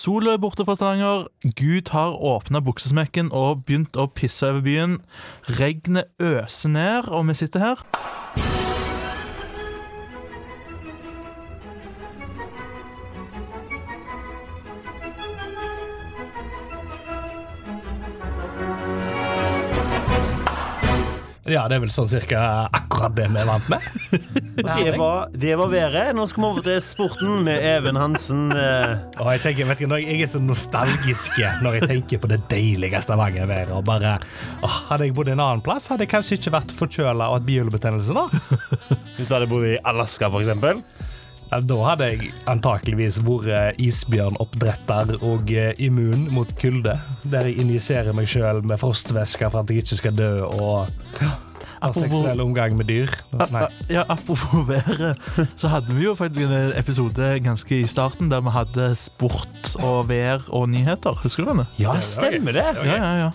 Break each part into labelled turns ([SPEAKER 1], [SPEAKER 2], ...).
[SPEAKER 1] Sol borte fra Stavanger. Gud har åpna buksesmekken og begynt å pisse over byen. Regnet øser ned, og vi sitter her.
[SPEAKER 2] Ja, det er vel sånn cirka akkurat det vi er vant med.
[SPEAKER 3] Det var, det var været. Nå skal vi over til sporten med Even Hansen. eh,
[SPEAKER 2] Og jeg tenker, vet du, når jeg jeg er så nostalgisk når jeg tenker på det deilige Stavanger-været. og bare, åh, Hadde jeg bodd en annen plass, hadde jeg kanskje ikke vært forkjøla og hatt bihulebetennelse da.
[SPEAKER 3] Hvis du hadde bodd i Alaska, for eksempel.
[SPEAKER 2] Ja, Da hadde jeg antakeligvis vært eh, isbjørnoppdretter og eh, immun mot kulde. Der jeg injiserer meg sjøl med frostvæske for at jeg ikke skal dø, og har
[SPEAKER 1] Apropos-
[SPEAKER 2] seksuell omgang med dyr. Nei.
[SPEAKER 1] Ja, Apropos været, så hadde vi jo faktisk en episode ganske i starten der vi hadde sport og vær og nyheter. Husker du denne?
[SPEAKER 3] Ja, stemmer det!
[SPEAKER 1] Ja, ja, ja.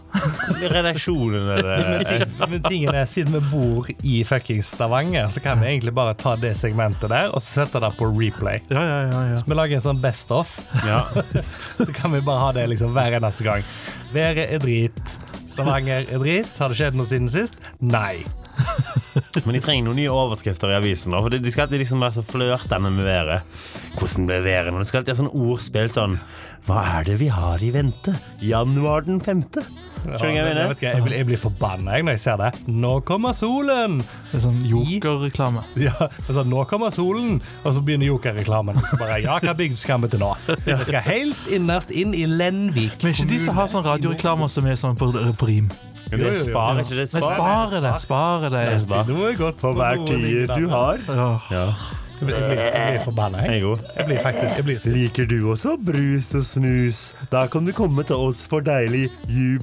[SPEAKER 3] Redaksjonen er det.
[SPEAKER 2] Men tingen er, siden vi bor i fuckings Stavanger, så kan vi egentlig bare ta det segmentet der og så sette det på replay.
[SPEAKER 1] ja, ja, ja, ja.
[SPEAKER 2] Vi lager en sånn best off,
[SPEAKER 3] Ja.
[SPEAKER 2] så kan vi bare ha det liksom hver eneste gang. Været er drit. Stavanger er drit. Har det skjedd noe siden sist? Nei.
[SPEAKER 3] Men de trenger noen nye overskrifter i avisen. nå, For De de skal alltid liksom være så flørtende med været. Hvordan ble været nå? Det skal alltid være sånn ordspill sånn Hva er det vi har i vente? Januar den femte. Skjønner du hva jeg
[SPEAKER 2] Ja,
[SPEAKER 3] mener?
[SPEAKER 2] vet du hva, jeg, blir, jeg blir forbanna jeg, når jeg ser det. Nå kommer solen!
[SPEAKER 1] Det er sånn jokerreklame.
[SPEAKER 2] Ja, altså, nå kommer solen, og så begynner Joker-reklamen. Så bare, ja, hva bygd skal vi til nå? Vi skal helt innerst inn i Lenvik.
[SPEAKER 1] Men ikke de som har sånn radioreklamer som er sånn på, på rim.
[SPEAKER 3] Det er spar, ikke det?
[SPEAKER 1] Men
[SPEAKER 3] Spar.
[SPEAKER 1] sparer det. Sparer det.
[SPEAKER 3] Det er spar.
[SPEAKER 2] Noe er godt for noe ligner det.
[SPEAKER 3] har.
[SPEAKER 1] Åh.
[SPEAKER 3] Ja,
[SPEAKER 2] Jeg blir, jeg blir forbanna,
[SPEAKER 3] Eh. jeg er
[SPEAKER 2] jeg.
[SPEAKER 3] god.
[SPEAKER 2] Jeg blir faktisk jeg blir sint.
[SPEAKER 3] Liker du også brus og snus? Da kan du komme til oss for deilig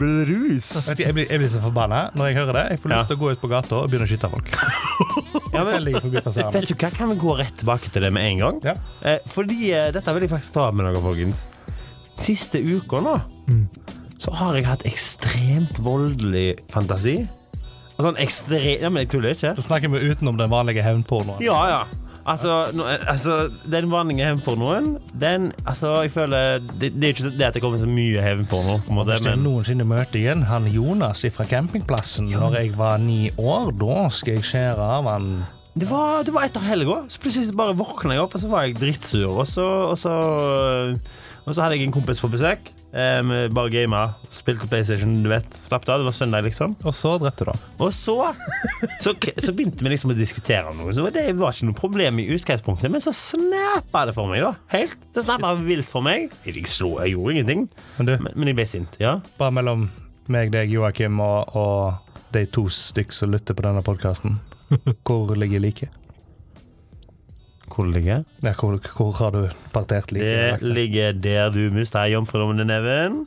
[SPEAKER 3] jubelrus.
[SPEAKER 2] Vet du, jeg, blir, jeg blir så forbanna når jeg hører det. Jeg får
[SPEAKER 3] Ja.
[SPEAKER 2] lyst til å gå ut på gata og begynne å skyte folk.
[SPEAKER 3] Ja, men,
[SPEAKER 2] Jeg ligger forbi fasaden.
[SPEAKER 3] vet du hva, Kan vi gå rett tilbake til det med en gang?
[SPEAKER 2] Ja.
[SPEAKER 3] Eh, fordi eh, dette vil jeg faktisk ta med dere, folkens. Siste uka nå
[SPEAKER 2] Mm.
[SPEAKER 3] så har jeg hatt ekstremt voldelig fantasi. Og Sånn ekstrem... Ja, men jeg tuller ikke.
[SPEAKER 2] Så snakker vi utenom den vanlige hevnpornoen.
[SPEAKER 3] Ja, ja. Altså, nå- altså den vanlige hevnpornoen, den Altså, jeg føler Det, det er ikke det at det kommer så mye hevnporno, på en måte,
[SPEAKER 2] Hvis jeg
[SPEAKER 3] men
[SPEAKER 2] noensinne møter igjen han Jonas fra campingplassen når jeg var ni år, da skal jeg skjære av han
[SPEAKER 3] det var, det var etter helga. Så plutselig bare våkna jeg opp, og så var jeg drittsur. Og så, og så, og så hadde jeg en kompis på besøk. Eh, vi bare gama. Spilte PlayStation, du vet. Slapp av. Det var søndag, liksom.
[SPEAKER 2] Og så drepte du ham.
[SPEAKER 3] Og så, så, så begynte vi liksom å diskutere om noe. Så det var ikke noe problem i utgangspunktet, men så snappa det for meg, da. Helt. Det snappa vilt for meg. Jeg slo, jeg gjorde ingenting,
[SPEAKER 2] Men du,
[SPEAKER 3] men, men jeg ble sint. Ja.
[SPEAKER 2] bare mellom meg, deg, Joakim og, og de to stykk som lytter på denne podkasten. Hvor ligger liket?
[SPEAKER 3] Hvor det ligger
[SPEAKER 2] Ja, hvor, hvor har du partert
[SPEAKER 3] det?
[SPEAKER 2] liket?
[SPEAKER 3] ligger der du mista jomfrudommen, Neven.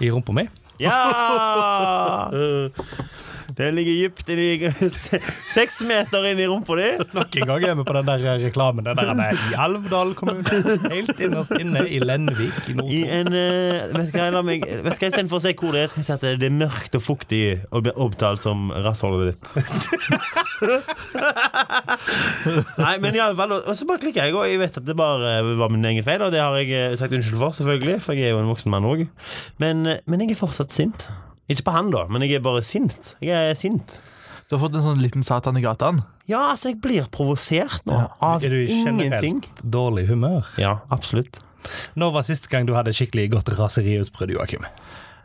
[SPEAKER 2] I rumpa mi?
[SPEAKER 3] Ja! Det ligger dypt inni se- Seks meter inn i rumpa di.
[SPEAKER 2] Nok en gang er vi på den der reklamen. Den der er i Alvdal kommune. Helt innerst inne i Lenvik i
[SPEAKER 3] I
[SPEAKER 2] Nord-Troms.
[SPEAKER 3] en eh, Vet du hva, la meg Vet du hva, istedenfor å se hvor det er, skal jeg si at det er mørkt og fuktig og blir opptalt som rassholdet ditt. Nei, men iallfall Og så bare klikker jeg, og jeg vet at det bare var min egen feil, og det har jeg eh, sagt unnskyld for, selvfølgelig, for jeg er jo en voksen mann òg. Men, eh, men jeg er fortsatt sint. Ikke på han, da, men jeg er bare sint. Jeg er sint.
[SPEAKER 1] Du har fått en sånn liten satan i gatan.
[SPEAKER 3] Ja, altså, jeg blir provosert nå av
[SPEAKER 2] Er du i
[SPEAKER 3] ingenting.
[SPEAKER 2] generelt dårlig humør?
[SPEAKER 3] Ja, absolutt.
[SPEAKER 2] Når var siste gang du hadde skikkelig godt raseriutbrudd, Joakim?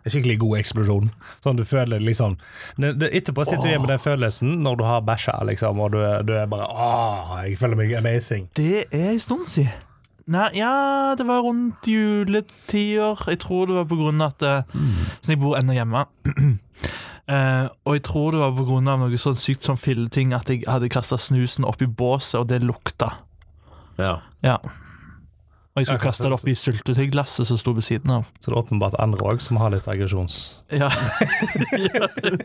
[SPEAKER 2] En Skikkelig god eksplosjon. Sånn du føler liksom det- det- Etterpå sitter du igjen med den følelsen når du har bæsja, liksom, og du, er- du er bare Åh, jeg føler meg amazing.
[SPEAKER 1] Det er en stund siden. Nei, ja, det var rundt juletider. Jeg tror det var på grunn av at eh, Så jeg bor ennå hjemme. Eh, og jeg tror det var på grunn av noe sånn sykt sånn filleting at jeg hadde kasta snusen oppi båset, og det lukta.
[SPEAKER 3] Ja.
[SPEAKER 1] Ja. Og jeg
[SPEAKER 2] Ja,
[SPEAKER 1] skulle kaste det oppi syltetøyglasset som sto ved siden av.
[SPEAKER 2] Så det er åpenbart andre òg som har litt aggresjons...
[SPEAKER 1] Ja. ja, ja.
[SPEAKER 3] altså,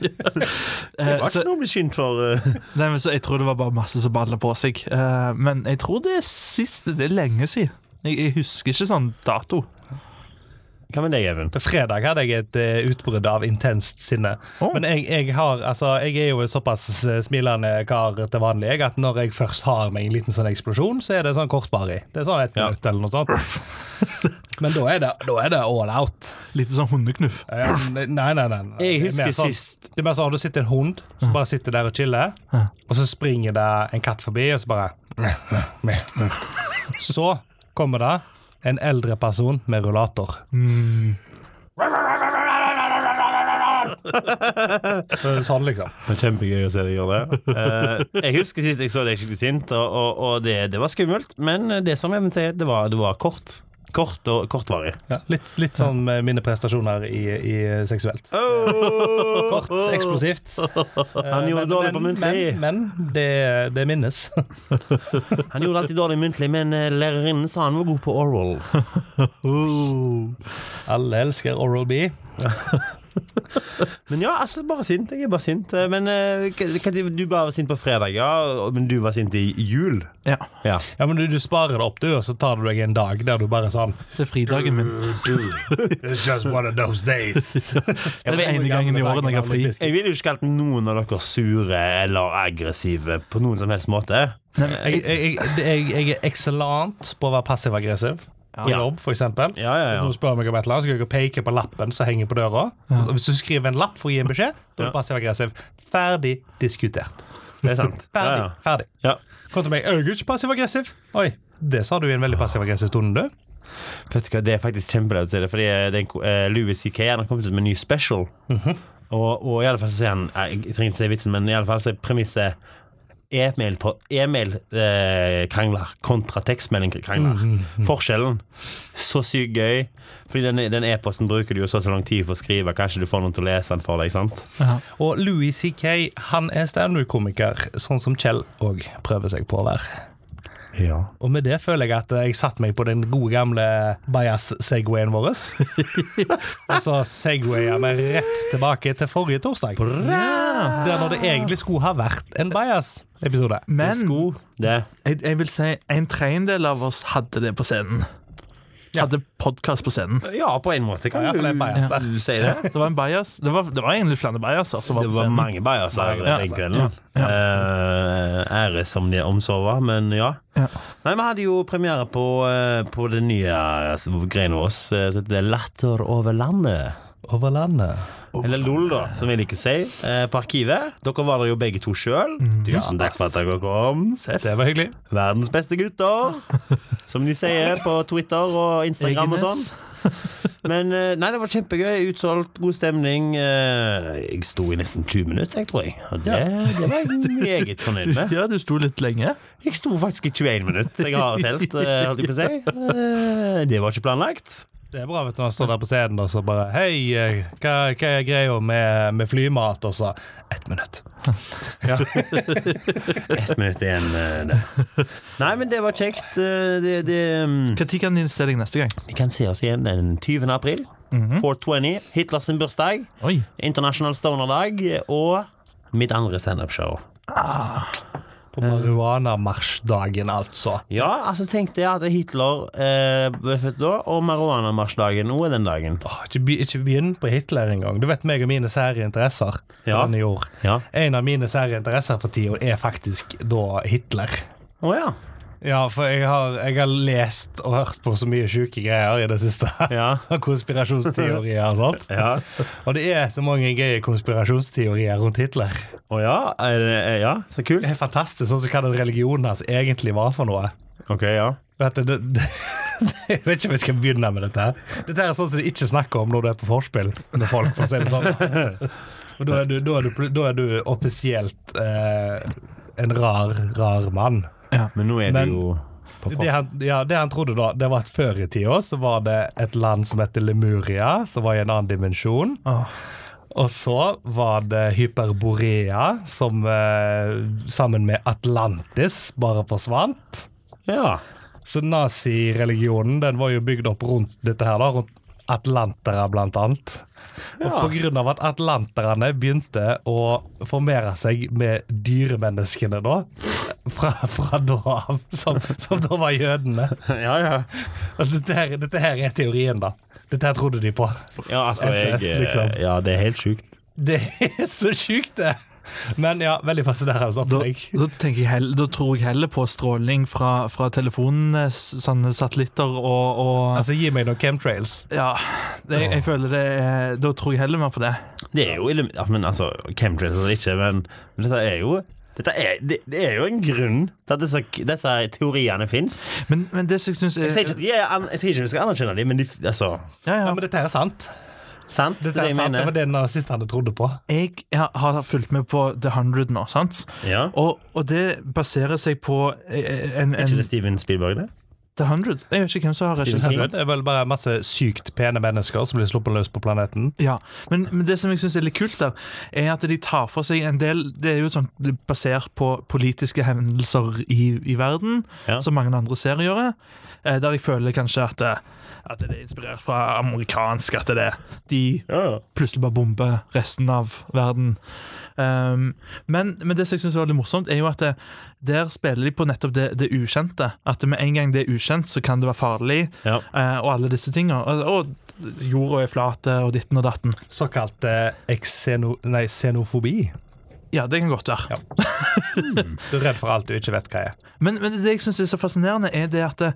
[SPEAKER 3] Det
[SPEAKER 1] Eh,
[SPEAKER 3] var
[SPEAKER 1] så,
[SPEAKER 3] ikke noe å bli skyndt for. eh.
[SPEAKER 1] nei, men så jeg tror det var bare masse som balla på seg. Eh, men jeg tror det er sist Det er lenge siden. Jeg, jeg husker ikke sånn dato.
[SPEAKER 3] Hva med deg, Even?
[SPEAKER 2] På fredag hadde jeg et eh, utbrudd av intenst sinne.
[SPEAKER 1] Å.
[SPEAKER 2] Men jeg, jeg, har, altså, jeg er jo en såpass eh, smilende kar til vanlig jeg, at når jeg først har meg en liten sånn eksplosjon, så er det sånn kortvarig. Det er sånn ett
[SPEAKER 3] Ja.
[SPEAKER 2] minutt eller noe sånt. Men da er det, da er det all out.
[SPEAKER 1] Litt sånn hundeknuff.
[SPEAKER 2] Ja, Nei, nei, nei. nei.
[SPEAKER 3] Jeg
[SPEAKER 2] Det er
[SPEAKER 3] husker
[SPEAKER 2] mer sånn,
[SPEAKER 3] sist-
[SPEAKER 2] Det er mer sånn, Du sitter en hund som bare sitter der og chiller, og så springer det en katt forbi, og så bare Så kommer det en eldre person med rullator. Så- Sånn, liksom.
[SPEAKER 3] Det er Kjempegøy å se deg gjøre det. Eh, jeg husker sist jeg så deg skikkelig sint, og, og, og det, det var skummelt. Men det som Even sier, det var, det var kort. Kort og kortvarig.
[SPEAKER 2] Ja, litt, litt sånn med mine prestasjoner i, i seksuelt.
[SPEAKER 1] Oh!
[SPEAKER 2] Kort, eksplosivt. Eh,
[SPEAKER 3] Han gjorde det dårlig på muntlig.
[SPEAKER 2] Men, men det, det minnes.
[SPEAKER 3] Han gjorde det alltid dårlig muntlig, men eh, lærerinnen sa han var god på oral.
[SPEAKER 1] Oh.
[SPEAKER 2] Alle elsker Oral B.
[SPEAKER 3] Men ja, altså, bare sint. Jeg er bare sint. Eh, Men eh, hva- hva- du bare var sint på fredag, ja. og- Men du var sint i jul.
[SPEAKER 1] Ja.
[SPEAKER 3] Ja.
[SPEAKER 2] Ja, men du, du sparer det opp, du, og så tar du deg en dag der du bare sånn
[SPEAKER 1] Det er fridagen min.
[SPEAKER 2] It's just one of those days.
[SPEAKER 1] Det er den ene gangen i året når jeg har fri.
[SPEAKER 3] Jeg ville jo ikke kalt noen av dere sure eller aggressive på noen som helst måte.
[SPEAKER 2] Jeg, jeg, jeg, jeg er excellent på å være passiv-aggressiv. På
[SPEAKER 3] Ja.
[SPEAKER 2] jobb, for eksempel.
[SPEAKER 3] Ja, ja,
[SPEAKER 2] Hvis
[SPEAKER 3] ja.
[SPEAKER 2] noen spør meg om et eller annet, så skal jeg peke på lappen som henger på døra. Og Hvis du skriver en lapp for å gi en beskjed, da er du passiv-aggressiv. Ferdig diskutert.
[SPEAKER 3] Det er sant. Ja,
[SPEAKER 2] Ferdig.
[SPEAKER 3] ja.
[SPEAKER 2] ferdig.
[SPEAKER 3] Ja.
[SPEAKER 2] Kom til meg. Er du ikke passiv-aggressiv? Oi, det sa du i en veldig passiv-aggressiv tone, du.
[SPEAKER 3] Vet du hva, Det er faktisk kjempeleit å si det, fordi eh, den, eh, Louis C.K. han har kommet ut med en ny special. og, og i alle fall så sier han eh, Jeg trenger ikke si vitsen, men i alle fall så er premisset E-mail-krangler eh, krangler kontra tekstmelding-krangler. Forskjellen. Så sykt gøy. Fordi den, den e-posten bruker du jo så og så lang tid på å skrive. Kanskje du får noen til å lese den for deg. sant?
[SPEAKER 2] Og Louis C.K., han er standup-komiker, sånn som Kjell òg prøver seg på å være.
[SPEAKER 3] Ja.
[SPEAKER 2] Og med det føler jeg at jeg satt meg på den gode gamle Bajas-segwayen vår. og så segwaya meg rett tilbake til forrige torsdag. Der når det egentlig skulle ha vært en Bajas-episode.
[SPEAKER 1] Men
[SPEAKER 3] Sko. Det.
[SPEAKER 1] jeg, jeg vil si en tredjedel av oss hadde det på scenen. Hadde podkast på scenen.
[SPEAKER 3] Ja, på en måte kan
[SPEAKER 2] Ja, for det er en bias der.
[SPEAKER 3] du, du si det.
[SPEAKER 1] Det var en bias. Det var, det var egentlig flere biaser som var
[SPEAKER 3] Det
[SPEAKER 1] på
[SPEAKER 3] var
[SPEAKER 1] scenen.
[SPEAKER 3] mange bajaser
[SPEAKER 2] Mange
[SPEAKER 3] den kvelden. Eh, ære som de omsover, men ja.
[SPEAKER 1] Ja.
[SPEAKER 3] Nei, Vi hadde jo premiere på, eh, på det nye altså, greiene våre, eh, som heter Latter over landet.
[SPEAKER 2] Over landet.
[SPEAKER 3] Eller LOL, da, som jeg liker å si. eh, på Arkivet. Dere var der jo begge to sjøl.
[SPEAKER 2] Mm.
[SPEAKER 3] Tusen takk for at dere kom.
[SPEAKER 2] Det var hyggelig.
[SPEAKER 3] Verdens beste gutter, som de sier på Twitter og Instagram og sånn.
[SPEAKER 1] Egenes.
[SPEAKER 3] Men eh, nei, det var kjempegøy. Utsolgt, god stemning. Eh, Jeg sto i nesten 20 minutter, jeg tror jeg. Og det, det var jeg meget fornøyd med.
[SPEAKER 1] Ja, du sto litt lenge.
[SPEAKER 3] Jeg sto faktisk i 21 minutter. Jeg har telt, eh, holdt jeg på å si. Eh, Det var ikke planlagt.
[SPEAKER 2] Det er bra vet du, når han står der på scenen og så bare Hei, eh, hva, hva er greia med, med flymat? Og så ett minutt.
[SPEAKER 3] Ett minutt igjen. eh, det. Nei, men det var kjekt. Eh, Det, det mm,
[SPEAKER 1] Når kan de se deg neste gang?
[SPEAKER 3] Vi kan se oss igjen den 20. april. 420. Hitlers sin bursdag.
[SPEAKER 1] Mhm. Oi.
[SPEAKER 3] Internasjonal Stoner-dag. Og mitt andre standup-show.
[SPEAKER 2] På marihuanamarsjdagen, altså.
[SPEAKER 3] Ja, altså tenk det at Hitler eh, ble født da, og marihuanamarsdagen òg den dagen.
[SPEAKER 2] Åh, ikke, be, ikke begynn på Hitler engang. Du vet meg og mine sære interesser.
[SPEAKER 3] Ja.
[SPEAKER 2] Denne jord.
[SPEAKER 3] Ja.
[SPEAKER 2] En av mine sære interesser for tida er faktisk da Hitler.
[SPEAKER 3] Å ja.
[SPEAKER 2] Ja, for jeg har, jeg har lest og hørt på så mye sjuke greier i det siste.
[SPEAKER 3] Ja.
[SPEAKER 2] Og Konspirasjonsteorier og sånt.
[SPEAKER 3] Ja.
[SPEAKER 2] Og det er så mange gøye konspirasjonsteorier rundt Hitler.
[SPEAKER 3] Å ja. Er det, eh, ja. Så kult.
[SPEAKER 2] Det er fantastisk sånn som hva den religionen hans egentlig var for noe.
[SPEAKER 3] Ok, ja.
[SPEAKER 2] Vet du, det, det, jeg vet ikke om jeg skal begynne med dette. her Dette her er sånn som de ikke snakker om når du er på forspill med folk. For å si det sånn Og da er du, da er du, pl- da er du offisielt eh, en rar, rar mann.
[SPEAKER 3] Men nå er
[SPEAKER 2] Men-
[SPEAKER 3] det jo på
[SPEAKER 2] Det han, ja, det han trodde da, det var at før i tida så var det et land som heter Lemuria, som var i en annen dimensjon.
[SPEAKER 1] Åh.
[SPEAKER 2] Og så var det Hyperborea, som eh, sammen med Atlantis bare forsvant.
[SPEAKER 3] Ja.
[SPEAKER 2] Så nazireligionen den var jo bygd opp rundt dette her, da, rundt atlantere blant annet. Og
[SPEAKER 3] Ja.
[SPEAKER 2] på grunn av at atlanterne begynte å formere seg med dyremenneskene da, fra, fra da av, som, som da var jødene.
[SPEAKER 3] ja, ja.
[SPEAKER 2] Og Dette her, dette her er teorien, da. Dette her trodde de på.
[SPEAKER 3] Ja, altså,
[SPEAKER 2] SS,
[SPEAKER 3] jeg,
[SPEAKER 2] liksom.
[SPEAKER 3] ja, det er helt sjukt.
[SPEAKER 2] Det er så sjukt, det! Men ja, veldig fascinerende altså,
[SPEAKER 1] Da,
[SPEAKER 2] opplegg.
[SPEAKER 1] da, tenker jeg heller, da tror jeg heller på stråling fra, fra telefonene, s- sånne satellitter og, og
[SPEAKER 2] Altså, gi meg noen chemtrails.
[SPEAKER 1] Ja. Det, jeg føler det er, Da tror jeg heller mer på det.
[SPEAKER 3] Det er jo illu- ja, Men altså, chemtrails eller ikke, men men dette er jo dette er, det, det er jo en grunn til at disse, disse teoriene fins.
[SPEAKER 1] Men, men det som jeg syns
[SPEAKER 3] Jeg sier ikke at jeg, an- jeg sier ikke at vi skal anerkjenne dem, men de, f- altså
[SPEAKER 1] ja,
[SPEAKER 2] Ja,
[SPEAKER 1] ja.
[SPEAKER 2] men dette her er sant.
[SPEAKER 3] Sant? Det
[SPEAKER 2] Dette her er
[SPEAKER 3] er det jeg
[SPEAKER 2] sant, Det
[SPEAKER 3] mener.
[SPEAKER 2] var det den siste han trodde på.
[SPEAKER 1] Jeg har- har fulgt med på The 100 nå, sant?
[SPEAKER 3] Ja.
[SPEAKER 1] Og, og det baserer seg på eh, en,
[SPEAKER 3] Er ikke
[SPEAKER 1] en
[SPEAKER 3] det Steven Spielberg, det?
[SPEAKER 1] The 100. Jeg vet ikke hvem som har
[SPEAKER 3] Stephen
[SPEAKER 1] regissert
[SPEAKER 3] King.
[SPEAKER 1] den.
[SPEAKER 2] Det er vel bare masse sykt pene mennesker som blir sluppet løs på planeten.
[SPEAKER 1] Ja, men, men det som jeg synes er litt kult der, er at de tar for seg en del Det er jo sånn basert på politiske hendelser i, i verden,
[SPEAKER 3] Ja.
[SPEAKER 1] som mange andre serier gjør. eh, Der jeg føler kanskje at, eh, at det er inspirert fra amerikansk, at det er de
[SPEAKER 3] Ja, ja.
[SPEAKER 1] plutselig bare bomber resten av verden. Um, men, men det som jeg synes er veldig morsomt, er jo at det, der spiller de på nettopp det, det ukjente. At med en gang det er ukjent, så kan det være farlig,
[SPEAKER 3] Ja.
[SPEAKER 1] eh, og alle disse tinga. Og, og jorda er flat, eh, og ditten og datten.
[SPEAKER 2] Såkalt eh, ekseno... Nei, xenofobi.
[SPEAKER 1] Ja, det kan godt være.
[SPEAKER 2] Du er redd for alt du ikke vet hva er.
[SPEAKER 1] Men, men det jeg syns er så fascinerende, er det at det,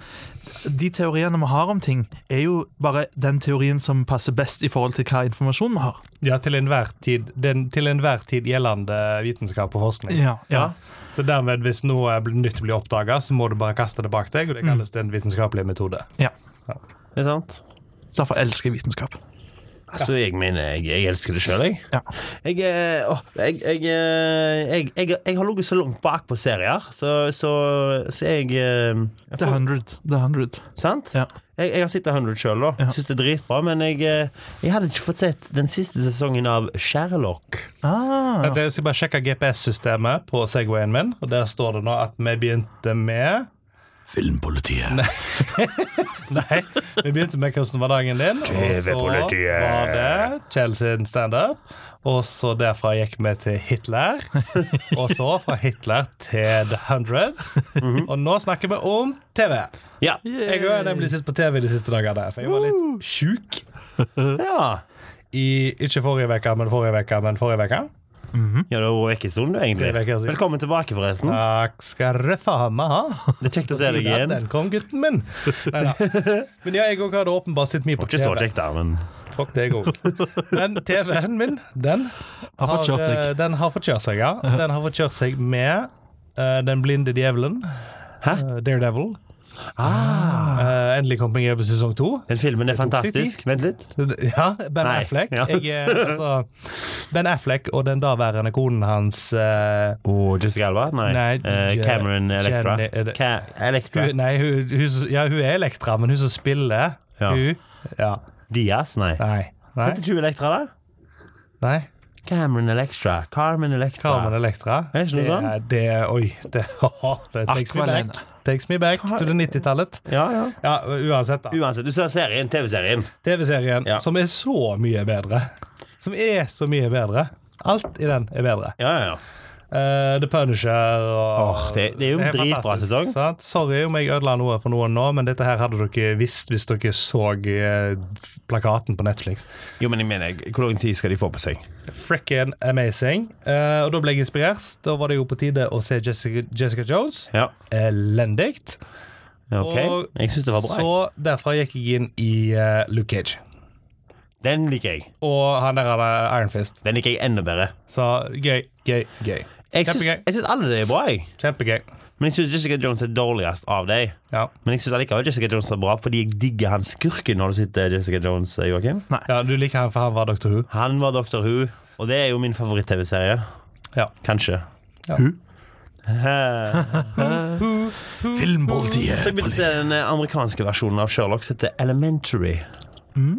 [SPEAKER 1] de teoriene vi har om ting, er jo bare den teorien som passer best i forhold til hva informasjon vi har.
[SPEAKER 2] Ja, til enhver tid, den til enhver tid gjeldende vitenskap og forskning.
[SPEAKER 1] Ja, ja.
[SPEAKER 2] Så dermed, hvis noe er bl- nytt blir oppdaga, så må du bare kaste det bak deg,
[SPEAKER 1] Mm.
[SPEAKER 2] og det kalles en vitenskapelig metode.
[SPEAKER 1] ja.
[SPEAKER 3] Det er sant.
[SPEAKER 1] Så derfor elsker jeg vitenskap.
[SPEAKER 3] Altså, jeg mener, jeg, jeg elsker det sjøl, jeg.
[SPEAKER 1] Ja.
[SPEAKER 3] Jeg, eh, åh, jeg, jeg, eh, jeg, jeg, jeg har ligget så langt bak på serier, så, så, så jeg, eh, jeg
[SPEAKER 1] The
[SPEAKER 3] får-
[SPEAKER 1] 100. The 100.
[SPEAKER 3] Sant?
[SPEAKER 1] Ja.
[SPEAKER 3] Jeg, jeg har sett 100 sjøl, da. Syns det er dritbra. Men jeg, eh, jeg hadde ikke fått sett den siste sesongen av Sherlock.
[SPEAKER 1] Ah,
[SPEAKER 2] Vent, Jeg skal bare sjekke GPS-systemet på Segwayen min, og der står det nå at vi begynte med
[SPEAKER 1] Filmpolitiet.
[SPEAKER 2] Nei, vi begynte med hvordan var dagen din, og så
[SPEAKER 3] TV-politiet.
[SPEAKER 2] var det Kjell sin standup. Og så derfra gikk vi til Hitler, og så fra Hitler til The Hundreds.
[SPEAKER 3] Mhm.
[SPEAKER 2] Og nå snakker vi om TV.
[SPEAKER 3] Ja.
[SPEAKER 2] Jeg har nemlig sett på TV de siste dagene, for jeg var litt sjuk.
[SPEAKER 3] ja.
[SPEAKER 2] I, ikke forrige uke, men forrige uke, men forrige uke.
[SPEAKER 3] Ja, det var vekk en stund, du,
[SPEAKER 2] Mm. Det
[SPEAKER 3] egentlig.
[SPEAKER 2] er vekk en stund.
[SPEAKER 3] Velkommen tilbake, forresten.
[SPEAKER 2] Takk skal du faen meg ha.
[SPEAKER 3] Det er kjekt å se deg
[SPEAKER 2] Ja,
[SPEAKER 3] igjen.
[SPEAKER 2] den kom, gutten min. Neida. Men ja, jeg òg hadde åpenbart sett mye på
[SPEAKER 3] Ikke så
[SPEAKER 2] TV.
[SPEAKER 3] kjekt, da, men
[SPEAKER 2] Fuck det, jeg òg. Men TV-en min, den
[SPEAKER 1] Har fått kjørt seg.
[SPEAKER 2] eh, Den har fått kjørt seg, ja. Den har fått kjørt seg med eh, Den blinde djevelen.
[SPEAKER 3] Hæ? Ah.
[SPEAKER 2] Eh, Daredevil. Eh, endelig kom jeg over sesong to.
[SPEAKER 3] Den filmen er
[SPEAKER 2] tok sin
[SPEAKER 3] fantastisk. Vent litt.
[SPEAKER 2] Ja, Ben
[SPEAKER 3] Nei,
[SPEAKER 2] Affleck.
[SPEAKER 3] ja.
[SPEAKER 2] Jeg, eh, altså, ben Affleck og den daværende konen hans eh,
[SPEAKER 3] Oh, Jessica Alba? Nei.
[SPEAKER 2] Nei,
[SPEAKER 3] Eh,
[SPEAKER 2] Je-
[SPEAKER 3] Cameron Electra.
[SPEAKER 2] Jenny- er det-
[SPEAKER 3] Ca Electra.
[SPEAKER 2] hun, Nei, hun, hun, som- ja, hun er Elektra, men hun som spiller
[SPEAKER 3] Ja.
[SPEAKER 2] Hun Ja.
[SPEAKER 3] Diaz? Nei.
[SPEAKER 2] Nei. Nei.
[SPEAKER 3] Heter ikke hun Electra, da?
[SPEAKER 2] nei.
[SPEAKER 3] Cameron Electra. Carmen Electra.
[SPEAKER 2] Carmen Elektra.
[SPEAKER 3] Er det ikke noe sånn?
[SPEAKER 2] er- Det, er- oi. Det, det takes, me
[SPEAKER 1] Aqualene.
[SPEAKER 2] back. takes me back to the 90-tallet.
[SPEAKER 3] Ja, ja.
[SPEAKER 2] Ja, uansett, da.
[SPEAKER 3] Uansett, du ser serien, TV-serien.
[SPEAKER 2] TV-serien
[SPEAKER 3] Ja.
[SPEAKER 2] som er så mye bedre. Som er så mye bedre. Alt i den er bedre.
[SPEAKER 3] Ja, ja, ja.
[SPEAKER 2] Eh, The Punisher og
[SPEAKER 3] Åh, det- det er jo en dritbra
[SPEAKER 2] fantastisk,
[SPEAKER 3] sesong.
[SPEAKER 2] sant? Sorry om jeg ødela noe for noen nå, men dette her hadde dere visst hvis dere så eh, plakaten på Netflix.
[SPEAKER 3] Jo, men jeg mener, hvor lang tid skal de få på seg?
[SPEAKER 2] Frikken amazing. Eh, og da ble jeg inspirert. Da var det jo på tide å se Jessica, Jessica Jones.
[SPEAKER 3] Ja,
[SPEAKER 2] Elendig.
[SPEAKER 3] ja, ok.
[SPEAKER 2] Og
[SPEAKER 3] Jeg syns det var bra. jeg.
[SPEAKER 2] Så derfra gikk jeg inn i eh, Luke Cage.
[SPEAKER 3] Den liker jeg.
[SPEAKER 2] Og han der han er Iron Fist.
[SPEAKER 3] Den liker jeg enda bedre.
[SPEAKER 2] Så gøy, gøy, gøy.
[SPEAKER 3] Jeg syns
[SPEAKER 2] Kjempegøy.
[SPEAKER 3] jeg syns alle de er bra, jeg.
[SPEAKER 2] Kjempegøy.
[SPEAKER 3] Men jeg syns Jessica Jones er dårligst av deg.
[SPEAKER 2] Ja.
[SPEAKER 3] Men jeg syns allikevel Jessica Jones er bra, fordi jeg digger han skurken når du sitter Jessica Jones, eh, Joakim.
[SPEAKER 2] ja, du liker han, for han var Dr. Who.
[SPEAKER 3] Han var Dr. Who, og det er jo min favoritt-TV-serie.
[SPEAKER 2] Ja.
[SPEAKER 3] Kanskje.
[SPEAKER 2] Ja.
[SPEAKER 1] Who?
[SPEAKER 3] Så
[SPEAKER 1] Filmpolitiet.
[SPEAKER 3] jeg begynte å se den eh, amerikanske versjonen av Sherlock, som heter Elementary.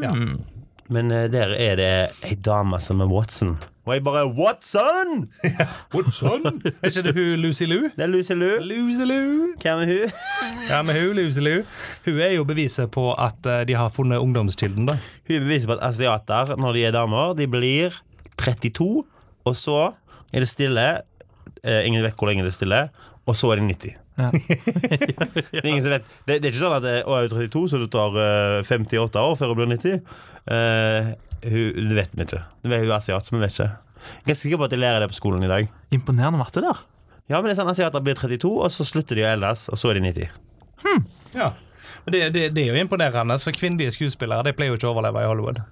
[SPEAKER 2] Ja.
[SPEAKER 3] Men eh, der er det ei dame som er Watson. Og jeg bare Watson!
[SPEAKER 2] er ikke det hun Lucy Lou?
[SPEAKER 3] Det er Lucy Lou.
[SPEAKER 2] Lucy Lou.
[SPEAKER 3] Hvem er hun?
[SPEAKER 2] Ja, men hun Lucy Lou Hun er jo beviset på at eh, de har funnet ungdomskilden, da.
[SPEAKER 3] Hun er beviset på at asiater, når de er damer, de blir 32, og så er det stille. Eh, ingen vet hvor lenge det er stille. og så er det 90.
[SPEAKER 1] Ja.
[SPEAKER 3] Det er ingen som vet Det, det er ikke sånn at eh, å, jeg er 32, så det tar eh, 58 år før hun blir 90. Eh, hun, det vet vi ikke. Det vet, hun er asiat, så vi vet ikke. Jeg er ganske sikker på at de lærer det på skolen i dag.
[SPEAKER 1] Imponerende matte der.
[SPEAKER 3] Ja, men det er sånn Asiater blir 32, og så slutter de å eldes, og så er de 90.
[SPEAKER 2] Ja. Men Det, det, det er jo imponerende, for kvinnelige skuespillere de pleier jo ikke å overleve i Hollywood.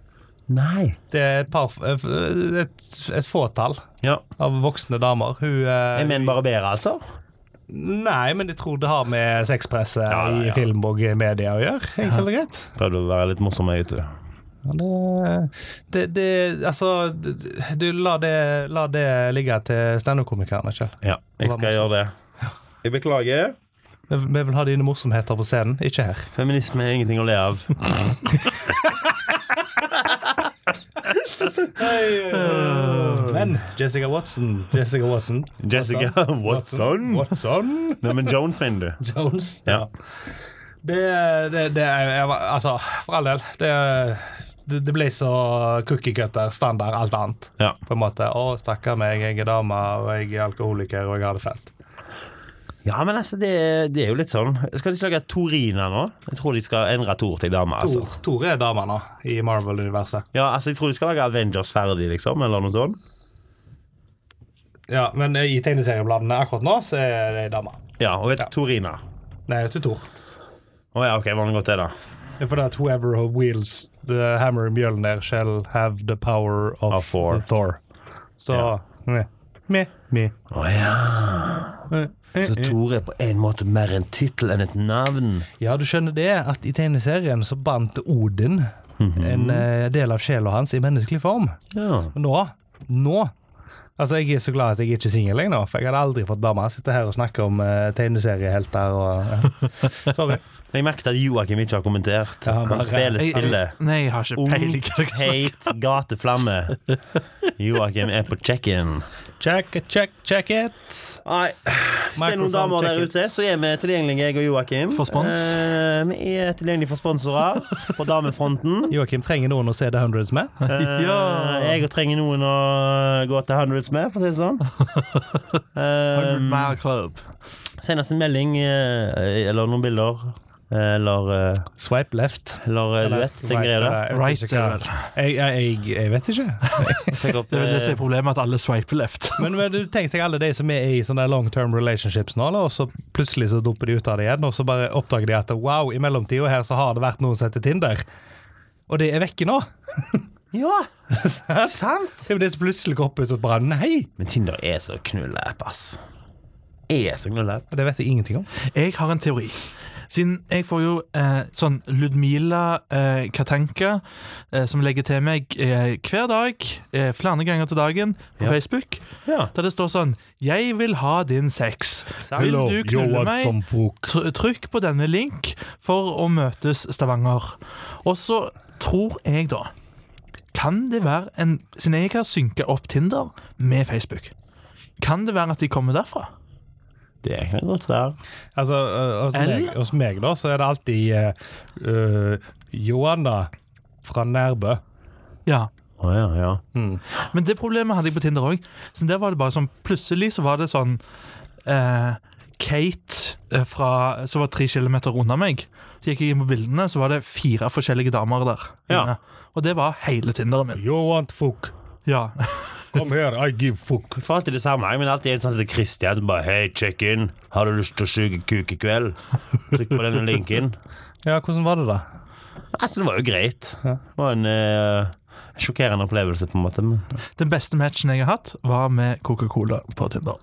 [SPEAKER 3] Nei
[SPEAKER 2] Det er et, par, eh, et, et fåtall
[SPEAKER 3] Ja,
[SPEAKER 2] av voksne damer. Hun eh,
[SPEAKER 3] Jeg mener barberer, altså.
[SPEAKER 2] Nei, men jeg tror det har med sexpresse
[SPEAKER 3] Ja, ja, ja.
[SPEAKER 2] i film og media å gjøre. Enkelt og greit.
[SPEAKER 3] Prøvde å være litt morsom, jeg, vet du.
[SPEAKER 2] Ja, det, det, det Altså, det- du, la det, la det ligge til standup-komikerne, Kjell.
[SPEAKER 3] Ja, jeg skal gjøre det. Jeg beklager.
[SPEAKER 2] Vi vi vil ha dine morsomheter på scenen, ikke her.
[SPEAKER 3] Feminisme er ingenting å le av.
[SPEAKER 2] Men Jessica Watson Jessica Watson.
[SPEAKER 3] Jessica Watson.
[SPEAKER 2] Mm. Watson?
[SPEAKER 3] Nei, men Jones, mener du?
[SPEAKER 2] Jones.
[SPEAKER 3] Ja.
[SPEAKER 2] Det, det, det er jeg var- Altså, for all del. Det, det, det ble så cookie cutter, standard, alt annet.
[SPEAKER 3] ja.
[SPEAKER 2] På en måte. Å, stakkar meg, jeg er dame, og jeg er alkoholiker, og jeg har det fælt.
[SPEAKER 3] Ja, men altså, det, det er jo litt sånn Skal de ikke lage Torina nå? Jeg tror de skal endre Tor til dame, altså.
[SPEAKER 2] Tor, Tor er dame nå, i Marvel-universet.
[SPEAKER 3] Ja, altså, jeg tror de skal lage Avengers ferdig, liksom, eller noe sånt.
[SPEAKER 2] Ja, men i tegneseriebladene akkurat nå, så er det ei dame.
[SPEAKER 3] Ja, og vet du, Torina.
[SPEAKER 2] Nei, ikke Tor.
[SPEAKER 3] Å ja, ok, vanlig godt det, da.
[SPEAKER 2] Det er fordi at whoever who wields the hammer and mjølner shall have the power of,
[SPEAKER 3] Of Thor.
[SPEAKER 2] Thor. Så meh. Meh. Meh.
[SPEAKER 3] Å ja. Så Tor er på en måte mer en tittel enn et navn.
[SPEAKER 2] Ja, du skjønner det, at i tegneserien så bandt Odin en eh, del av sjela hans i menneskelig form.
[SPEAKER 3] Ja.
[SPEAKER 2] Nå, nå Altså, jeg er så glad at jeg ikke er singel lenger, for jeg hadde aldri fått dame. Sitter her og snakker om eh, tegneseriehelter og ja. Sorry.
[SPEAKER 3] Jeg merket at Joakim ikke har kommentert.
[SPEAKER 2] Ja, han
[SPEAKER 3] han
[SPEAKER 2] bare-
[SPEAKER 3] spiller spillet.
[SPEAKER 1] Nei, jeg har ikke
[SPEAKER 3] Ung,
[SPEAKER 1] peiling. hva dere snakker om.
[SPEAKER 3] heit gateflamme. Joakim er på check-in.
[SPEAKER 2] Check it, check, check it.
[SPEAKER 3] Nei, hvis det er noen
[SPEAKER 2] Microphone
[SPEAKER 3] damer der
[SPEAKER 2] check-in.
[SPEAKER 3] ute, så er vi tilgjengelige, jeg og Joakim.
[SPEAKER 1] For spons.
[SPEAKER 3] Eh, vi er tilgjengelige for sponsorer på damefronten.
[SPEAKER 2] Joakim trenger noen å se The Hundreds med.
[SPEAKER 3] Eh,
[SPEAKER 1] Ja.
[SPEAKER 3] Jeg trenger noen å gå til hundreds med, for å si det sånn.
[SPEAKER 1] Hundred
[SPEAKER 3] Eh,
[SPEAKER 1] Mile Club.
[SPEAKER 3] Send oss en melding eh, eller noen bilder. eh, Eller, eh,
[SPEAKER 2] Swipe left.
[SPEAKER 3] eller eh, du vet, den greia der.
[SPEAKER 1] Right,
[SPEAKER 2] Jeg, vet ikke
[SPEAKER 1] er det
[SPEAKER 2] hva- jeg, jeg, jeg- jeg vet ikke.
[SPEAKER 3] Søk opp
[SPEAKER 1] Det er vel det som
[SPEAKER 3] eh,
[SPEAKER 1] er problemet, at alle swiper left.
[SPEAKER 2] Men, men du tenk deg alle de som er i sånne long term relationships nå, eller, og så plutselig så dumper de ut av det igjen, og så bare oppdager de at wow, i mellomtida her så har det vært noen som heter Tinder. Og det er vekke nå.
[SPEAKER 3] Ja!
[SPEAKER 1] eh,
[SPEAKER 3] Sant!
[SPEAKER 2] Det er jo det som plutselig går opp ut og bare nei.
[SPEAKER 3] Men Tinder er så knullapp, ass. Er så knullapp.
[SPEAKER 2] Og Det vet jeg ingenting om.
[SPEAKER 1] Jeg har en teori. Siden jeg får jo eh, sånn Ludmila eh, Katanka, eh, som legger til meg eh, hver dag, eh, flere ganger til dagen, på
[SPEAKER 3] Ja.
[SPEAKER 1] Facebook,
[SPEAKER 3] Ja.
[SPEAKER 1] der det står sånn 'Jeg vil ha din sex'. Vil du knulle meg?
[SPEAKER 2] folk.
[SPEAKER 1] Tr- Trykk på denne link for å møtes Stavanger. Og så tror jeg, da Kan det være en Siden jeg har synka opp Tinder med Facebook, kan det være at de kommer derfra?
[SPEAKER 3] Det kan godt være.
[SPEAKER 2] Altså, ø, hos,
[SPEAKER 1] Eller?
[SPEAKER 2] meg, hos meg, da, så er det alltid eh, ø, Johanna fra Nærbø.
[SPEAKER 1] Ja.
[SPEAKER 3] Å ja, ja.
[SPEAKER 1] Men det problemet hadde jeg på Tinder òg. Så der var det bare sånn Plutselig så var det sånn eh, Kate eh, fra, som var tre kilometer unna meg. Så gikk jeg inn på bildene, så var det fire forskjellige damer der.
[SPEAKER 3] Ja.
[SPEAKER 1] inne. Og det var hele Tinderen min.
[SPEAKER 2] You want fuck.
[SPEAKER 1] Ja.
[SPEAKER 2] Kom her, I give fuck.
[SPEAKER 3] For alltid det samme, men alltid en sånn som Christian som bare Hei, check in. Har du lyst til å suge kuk i kveld? Trykk på denne linken.
[SPEAKER 2] Ja, hvordan var det, da?
[SPEAKER 3] Altså, det var jo greit. Det var en eh, sjokkerende opplevelse, på en måte. Men
[SPEAKER 1] Den beste matchen jeg har hatt, var med Coca-Cola på Tinder.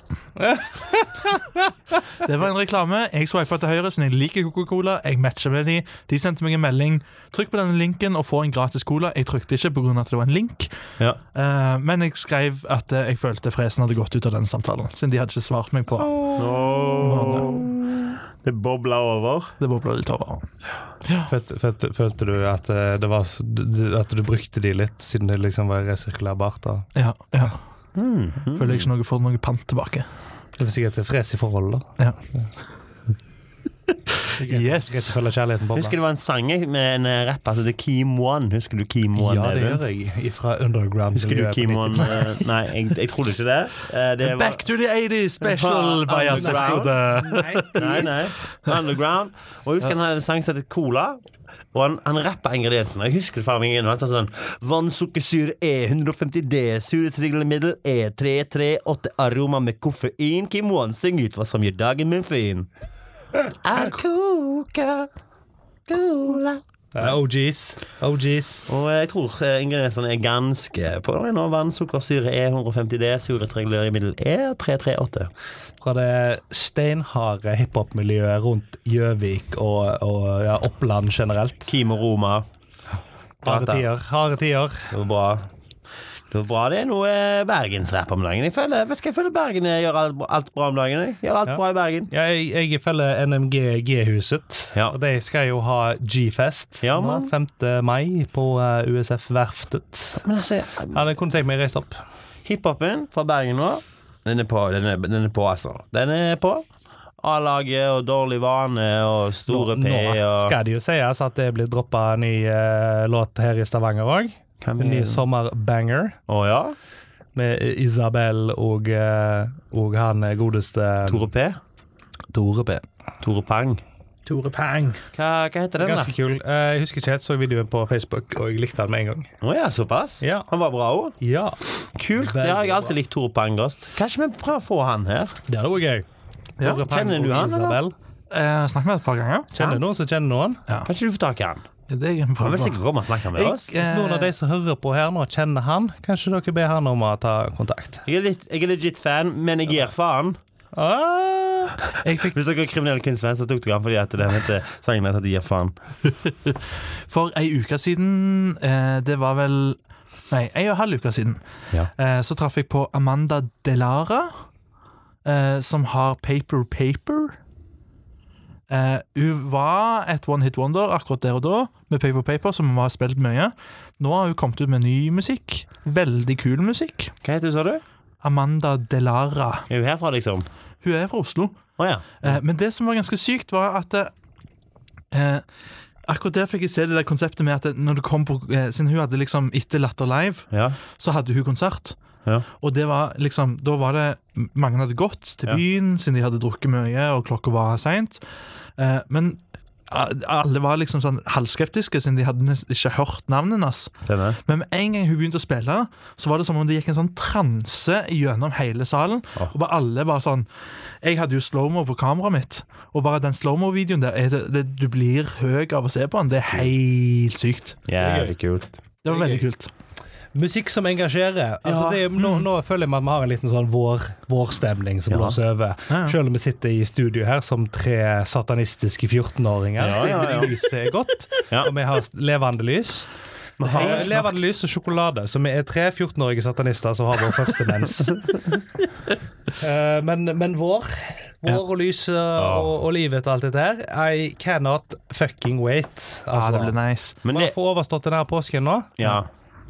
[SPEAKER 1] Det var en reklame. Jeg swipa til høyre, siden jeg liker Coca-Cola. Jeg matcher med de. De sendte meg en melding. Trykk på denne linken og få en gratis cola. Jeg trykte ikke pga. at det var en link.
[SPEAKER 3] ja.
[SPEAKER 1] Eh, men jeg skrev at eh, jeg følte fresen hadde gått ut av den samtalen. Siden de hadde ikke svart meg på
[SPEAKER 3] Det bobla over.
[SPEAKER 1] det. bobla litt over.
[SPEAKER 2] Følte, følte, følte du at, eh, det var, s- d- d- at du brukte de litt, siden det liksom var resirkulerbart? Da?
[SPEAKER 1] Ja, ja.
[SPEAKER 3] Mhm.
[SPEAKER 1] Føler jeg ikke noe får noe pant tilbake.
[SPEAKER 2] Det var sikkert et fres i forholdet, da.
[SPEAKER 1] Ja. Yes.
[SPEAKER 2] Greit å følge kjærligheten
[SPEAKER 3] Husker
[SPEAKER 2] bobla.
[SPEAKER 3] det var en sang jeg, med en eh, rapper som heter Keem One. Husker du Keem One?
[SPEAKER 2] Ja, det
[SPEAKER 3] Even?
[SPEAKER 2] gjør jeg. Fra underground.
[SPEAKER 3] Husker du Keem One? eh, Nei, jeg, jeg trodde ikke det. Eh, det var-
[SPEAKER 1] Back to the 80s special
[SPEAKER 3] Fra
[SPEAKER 1] Bajas-episode.
[SPEAKER 3] Nei, nei. Underground. Og jeg husker han hadde en sang som het Cola. Og han, han rappa ingrediensene. Jeg husker faen meg ingen, og Han sa sånn Vannsukkersyre E150D, surhetsregelmiddel E338, aroma med koffein. Kim Wan, syng ut hva som gjør dagen min fin. Er coca cola
[SPEAKER 2] Eh, OGs. OGs.
[SPEAKER 3] Og jeg tror eh, ingrediensene er ganske på det nå. Vannsukkersyre E150D, surhetsregelmiddel E338.
[SPEAKER 2] Fra det steinharde hiphop-miljøet rundt Gjøvik og, og ja, Oppland generelt.
[SPEAKER 3] Kim og Roma.
[SPEAKER 2] Harde tider. Harde tider.
[SPEAKER 3] Det var bra. Det var bra. Det er noe eh, bergensrapp om dagen. Jeg føler, vet du hva jeg føler Bergen gjør alt, alt bra om dagen. Jeg gjør alt
[SPEAKER 2] Ja.
[SPEAKER 3] bra i Bergen.
[SPEAKER 2] Ja, jeg, jeg følger NMG G-huset,
[SPEAKER 3] Ja.
[SPEAKER 2] og de skal jo ha G-fest
[SPEAKER 3] Ja,
[SPEAKER 2] nå,
[SPEAKER 3] man.
[SPEAKER 2] 5. mai på eh, USF Verftet.
[SPEAKER 3] Men altså,
[SPEAKER 2] Ja, det kunne tenkt meg å reise opp.
[SPEAKER 3] hiphopen fra Bergen nå, den er på, den er, den er på altså. Den er på. A-laget og Dårlig vane og Store P
[SPEAKER 2] Nå
[SPEAKER 3] og
[SPEAKER 2] skal det jo sies at det blir droppa ny eh, låt her i Stavanger òg.
[SPEAKER 3] Hvem
[SPEAKER 2] En ny
[SPEAKER 3] er-
[SPEAKER 2] sommerbanger
[SPEAKER 3] Å ja?
[SPEAKER 2] med eh, Isabel og, eh, og han godeste
[SPEAKER 3] Tore P?
[SPEAKER 2] Tore P.
[SPEAKER 3] Tore Pang.
[SPEAKER 1] Tore Pang.
[SPEAKER 3] Hva, hva heter den, da?
[SPEAKER 2] Ganske kul. Eh, jeg husker ikke helt, så videoen på Facebook, og jeg likte den med en gang.
[SPEAKER 3] Å ja, såpass?
[SPEAKER 2] Ja.
[SPEAKER 3] Han var bra òg?
[SPEAKER 2] Ja,
[SPEAKER 3] Kult. Det har jeg alltid likt Tore Pang godt. Kanskje vi prøver å få han her?
[SPEAKER 2] Det hadde vært gøy.
[SPEAKER 1] Ja,
[SPEAKER 2] Tore Pang
[SPEAKER 3] kjenner du
[SPEAKER 2] og
[SPEAKER 3] han, eller?
[SPEAKER 2] Isabel.
[SPEAKER 1] Eh, Snakk med deg et par ganger.
[SPEAKER 2] Kjenner du noen som kjenner noen?
[SPEAKER 3] Kanskje du får tak i han?
[SPEAKER 1] Ja, Det er en
[SPEAKER 3] Han
[SPEAKER 1] prøve.
[SPEAKER 3] vil sikkert komme og snakke med oss.
[SPEAKER 1] Jeg,
[SPEAKER 2] Hvis noen av de
[SPEAKER 1] eh,
[SPEAKER 2] som hører på her nå, kjenner han, kanskje dere ber han om å ta kontakt.
[SPEAKER 3] Jeg er, litt, jeg er legit fan, men jeg gir faen.
[SPEAKER 2] Ah!
[SPEAKER 1] jeg fikk
[SPEAKER 3] Hvis dere er kriminelle kunstfan, så tok dere han fordi at den heter sangen heter Gir faen.
[SPEAKER 1] for ei uke siden eh, Det var vel Nei, ei og en halv uke siden.
[SPEAKER 3] Ja.
[SPEAKER 1] Eh, så traff jeg på Amanda Delara, eh, som har Paper Paper. Eh, hun var et one hit wonder akkurat der og da, med Paper Paper, som hun har spilt mye. Nå har hun kommet ut med ny musikk. Veldig kul musikk.
[SPEAKER 3] Hva heter du, sa du?
[SPEAKER 1] Amanda Delara.
[SPEAKER 3] Er hun herfra, liksom?
[SPEAKER 1] Hun er fra Oslo.
[SPEAKER 3] Å ja.
[SPEAKER 1] Eh, Men det som var ganske sykt, var at eh, Akkurat der fikk jeg se det der konseptet med at det- når du kom på eh, Siden hun hadde liksom etter Latter Live,
[SPEAKER 3] ja.
[SPEAKER 1] så hadde hun konsert.
[SPEAKER 3] Ja.
[SPEAKER 1] Og det var liksom Da var det Mange hadde gått til
[SPEAKER 3] Ja.
[SPEAKER 1] byen siden de hadde drukket mye, og klokka var seint. Eh, men a- alle var liksom sånn halvskeptiske, siden de hadde nesten ikke hørt navnet hennes.
[SPEAKER 3] Stemmer.
[SPEAKER 1] Men med en gang hun begynte å spille, så var det som om det gikk en sånn transe gjennom hele salen.
[SPEAKER 3] Åh.
[SPEAKER 1] Og bare alle var sånn Jeg hadde jo slow-mo på kameraet mitt, og bare den slow-mo-videoen der er det, det, Du blir høy av å se på den. Det er helt sykt.
[SPEAKER 3] Jævlig kult.
[SPEAKER 1] Det var
[SPEAKER 2] Det er
[SPEAKER 1] veldig kult.
[SPEAKER 2] Musikk som engasjerer. Altså,
[SPEAKER 1] Ja.
[SPEAKER 2] det er, nå, nå føler jeg at vi har en liten sånn vår, vårstemning som blåser over.
[SPEAKER 1] Ja, ja.
[SPEAKER 2] Selv om vi sitter i studio her som tre satanistiske 14-åringer.
[SPEAKER 3] Ja, ja, ja.
[SPEAKER 2] Lyset er godt,
[SPEAKER 3] Ja.
[SPEAKER 2] og vi har s- levende lys.
[SPEAKER 3] Vi
[SPEAKER 2] Eh,
[SPEAKER 3] har,
[SPEAKER 2] Levende lys og sjokolade, så vi er tre 14-årige satanister som har vår første mens. Eh, men, men vår Vår og lyset og, og livet og alt dette her I cannot fucking wait.
[SPEAKER 1] Ja, det
[SPEAKER 2] Altså,
[SPEAKER 1] ble nice.
[SPEAKER 3] men det
[SPEAKER 2] Bare få overstått denne påsken nå.
[SPEAKER 3] Ja.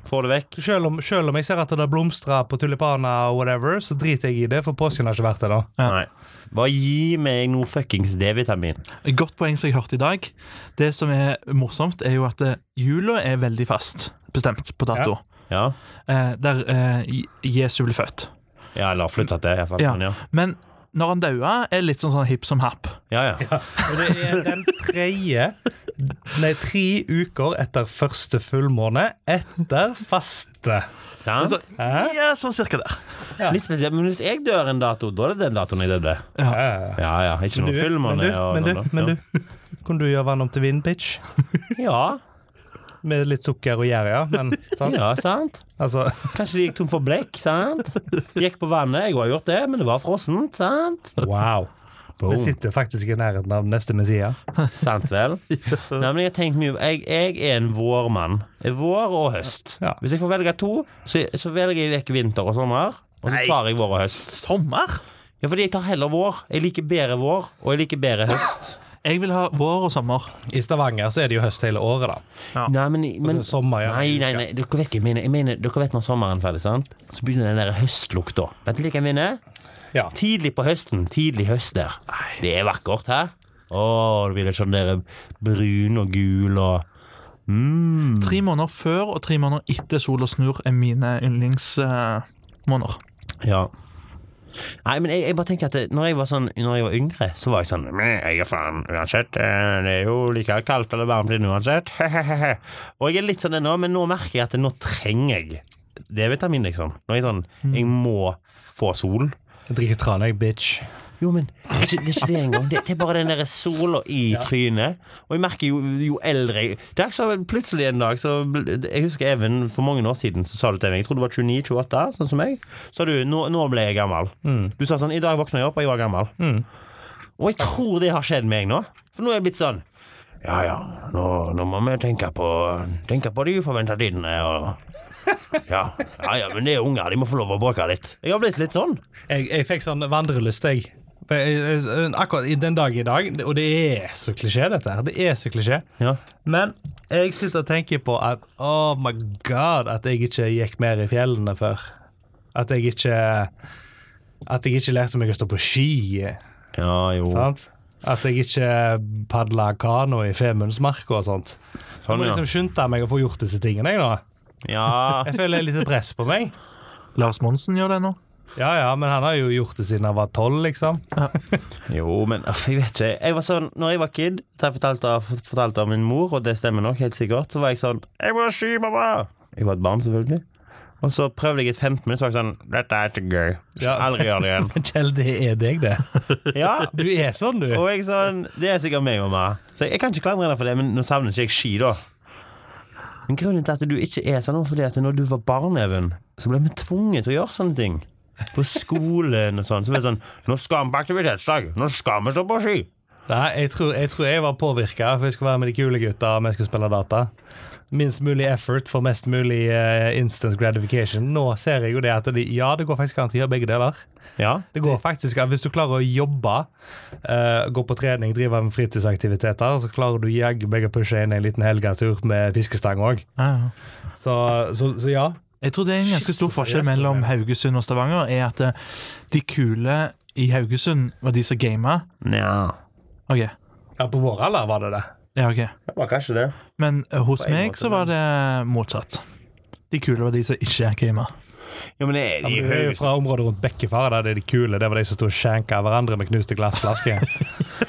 [SPEAKER 3] Få det vekk.
[SPEAKER 2] Selv om, selv om jeg ser at det blomstrer på tulipaner og whatever, så driter jeg i det, for påsken har ikke vært det da.
[SPEAKER 1] Ja.
[SPEAKER 3] Nei. Bare gi meg noe fuckings D-vitamin.
[SPEAKER 1] Et godt poeng som jeg hørte i dag. Det som er morsomt, er jo at eh, jula er veldig fast bestemt på dato.
[SPEAKER 3] Ja.
[SPEAKER 1] Eh, der eh, J- Jesu ble født.
[SPEAKER 3] ja, eller flytta til, iallfall.
[SPEAKER 1] Ja.
[SPEAKER 3] Ja. Ja.
[SPEAKER 1] Men når han daua, er det litt sånn, sånn hipp som happ.
[SPEAKER 3] Ja, ja.
[SPEAKER 2] Og det er den tredje Nei, tre uker etter første fullmåne etter faste.
[SPEAKER 1] Altså,
[SPEAKER 3] Sant?
[SPEAKER 1] ja, sånn cirka der.
[SPEAKER 3] Litt spesielt. Men hvis jeg dør en dato, da er det den datoen jeg døde.
[SPEAKER 2] Ja.
[SPEAKER 3] Ja, ja. sånn, Ikke
[SPEAKER 2] Men du, men
[SPEAKER 3] noen filmer.
[SPEAKER 2] du, men du, men du Kunne du gjøre vann om til vin, bitch?
[SPEAKER 3] Ja.
[SPEAKER 2] Med litt sukker og gjær, ja. Men sant?
[SPEAKER 3] ja, sant?
[SPEAKER 2] Altså,
[SPEAKER 3] Kanskje de gikk tom for blekk, sant? Gikk på vannet, jeg har gjort det, men det var frossent, sant?
[SPEAKER 2] wow. Vi sitter faktisk i nærheten av neste Messia.
[SPEAKER 3] Sant vel? Nei, men jeg har tenkt mye jeg, jeg er en vårmann. Vår og høst.
[SPEAKER 2] Ja.
[SPEAKER 3] Hvis jeg får velge to, så, så velger jeg vekk vinter og sommer. Og så tar jeg vår og høst.
[SPEAKER 1] Sommer?
[SPEAKER 3] Ja, fordi jeg tar heller vår. Jeg liker bedre vår, og jeg liker bedre høst.
[SPEAKER 1] Jeg vil ha vår og sommer.
[SPEAKER 2] I Stavanger så er det jo høst hele året, da.
[SPEAKER 3] Nei, men, men
[SPEAKER 2] Altså, sommer, ja.
[SPEAKER 3] Nei, nei, nei, dere vet hva jeg mener. Jeg mener dere vet når sommeren er ferdig, sant? Så begynner den der høstlukta. Vet dere hva jeg mener?
[SPEAKER 2] Ja.
[SPEAKER 3] Tidlig på høsten. Tidlig høst der. Det er vakkert, hæ? Å, det blir litt sånn der brun og gul og mm.
[SPEAKER 1] Tre måneder før og tre måneder etter Sol og snur er mine yndlingsmåneder.
[SPEAKER 3] Ja. Nei, men jeg, jeg bare tenker at det, når, jeg var sånn, når jeg var yngre, så var jeg sånn «Meh, Jeg er faen uansett. eh, Det er jo like kaldt eller varmt inne uansett. og jeg er litt sånn det nå, men nå merker jeg at nå trenger jeg D-vitamin, liksom. Nå er jeg sånn Jeg må få sol.
[SPEAKER 2] Jeg drikker tran, jeg, bitch.
[SPEAKER 3] Jo, men det er ikke det, er ikke det engang. Det, det er bare den der sola i trynet. Og jeg merker jo, jo eldre jeg Det er ikke så plutselig en dag så bl- Jeg husker Even for mange år siden så sa du til meg Jeg tror du var 29-28, sånn som meg. Sa du nå, 'nå ble jeg gammel'.
[SPEAKER 2] Mm.
[SPEAKER 3] Du sa sånn 'i dag våkna jeg opp, og jeg var gammel'. Og jeg tror det har skjedd meg nå. For nå er jeg blitt sånn Ja ja, nå, nå må vi tenke på, tenke på de uforventa tidene og ja, ja, ja, men det er unger, de må få lov å bråke litt. Jeg har blitt litt sånn.
[SPEAKER 2] Jeg, jeg fikk sånn vandrelyst, jeg. Jeg- jeg- jeg- Akkurat i den dag i dag, og det er så klisjé, dette her. Det er så klisjé.
[SPEAKER 3] Ja.
[SPEAKER 2] Men jeg sitter og tenker på at oh my god, at jeg ikke gikk mer i fjellene før. At jeg ikke At jeg ikke lærte meg å stå på ski.
[SPEAKER 3] Ja, jo.
[SPEAKER 2] Sant? At jeg ikke padla kano i Femundsmarka og sånt. Så jeg
[SPEAKER 3] Sånn,
[SPEAKER 2] må
[SPEAKER 3] ja.
[SPEAKER 2] liksom skynde meg å få gjort disse tingene, jeg nå.
[SPEAKER 3] Ja,
[SPEAKER 2] Jeg føler litt press på meg.
[SPEAKER 1] Lars Monsen gjør det nå.
[SPEAKER 2] Ja ja, men han har jo gjort det siden han var tolv, liksom.
[SPEAKER 3] jo, men aff, jeg vet ikke. Jeg var sånn, når jeg var kid, da jeg fortalte, fortalte av min mor, og det stemmer nok helt sikkert, så var jeg sånn Jeg må ha sky, mamma! Jeg var et barn, selvfølgelig. Og så prøvde jeg i 15 minutter, så var jeg sånn Dette er ikke gøy. Jeg skal
[SPEAKER 2] Ja.
[SPEAKER 3] Aldri gjør det igjen.
[SPEAKER 2] Kjell, det er deg, det.
[SPEAKER 3] Ja,
[SPEAKER 2] Du er sånn, du.
[SPEAKER 3] og jeg sånn Det er sikkert meg, mamma. Så jeg, jeg kan ikke klandre henne for det, men nå savner ikke jeg ski, da. Men grunnen til at du ikke er sånn, var fordi at når du var barn, Even, så ble vi tvunget til å gjøre sånne ting. På skolen og sånn. Så var det sånn Nå skal vi på aktivitetsdag! Nå skal vi stå på ski!
[SPEAKER 2] Nei, jeg tror jeg, tror jeg var påvirka, for jeg skulle være med de kule gutta og vi skulle spille data. Minst mulig effort for mest mulig eh, instant gratification. Nå ser jeg jo det at de, ja, det går faktisk an å gjøre begge deler.
[SPEAKER 3] Ja.
[SPEAKER 2] Det går faktisk an Hvis du klarer å jobbe, eh, gå på trening, drive med fritidsaktiviteter, så klarer du jaggu meg å pushe inn en liten helgetur med fiskestang òg.
[SPEAKER 1] Ja, ja.
[SPEAKER 2] Så, så, så ja.
[SPEAKER 1] Jeg tror det er en ganske stor
[SPEAKER 2] Jesus,
[SPEAKER 1] forskjell
[SPEAKER 2] seriøst,
[SPEAKER 1] mellom
[SPEAKER 2] det
[SPEAKER 1] Haugesund og Stavanger, er at eh, de kule i Haugesund var de som gama.
[SPEAKER 3] Nja.
[SPEAKER 1] Ok,
[SPEAKER 2] ja. På vår alder var det det.
[SPEAKER 1] ja ok.
[SPEAKER 3] Det var kanskje det.
[SPEAKER 1] Men eh, hos
[SPEAKER 3] På en
[SPEAKER 1] meg
[SPEAKER 3] måte,
[SPEAKER 1] så var det motsatt. De kule var de som ikke gama.
[SPEAKER 3] Ja, men det er
[SPEAKER 2] Ja, men
[SPEAKER 3] de
[SPEAKER 2] Du er jo
[SPEAKER 3] høyeste
[SPEAKER 2] fra området rundt Bekkefar, der det er de kule. Det var de som sto og skjenka hverandre med knuste glassflasker.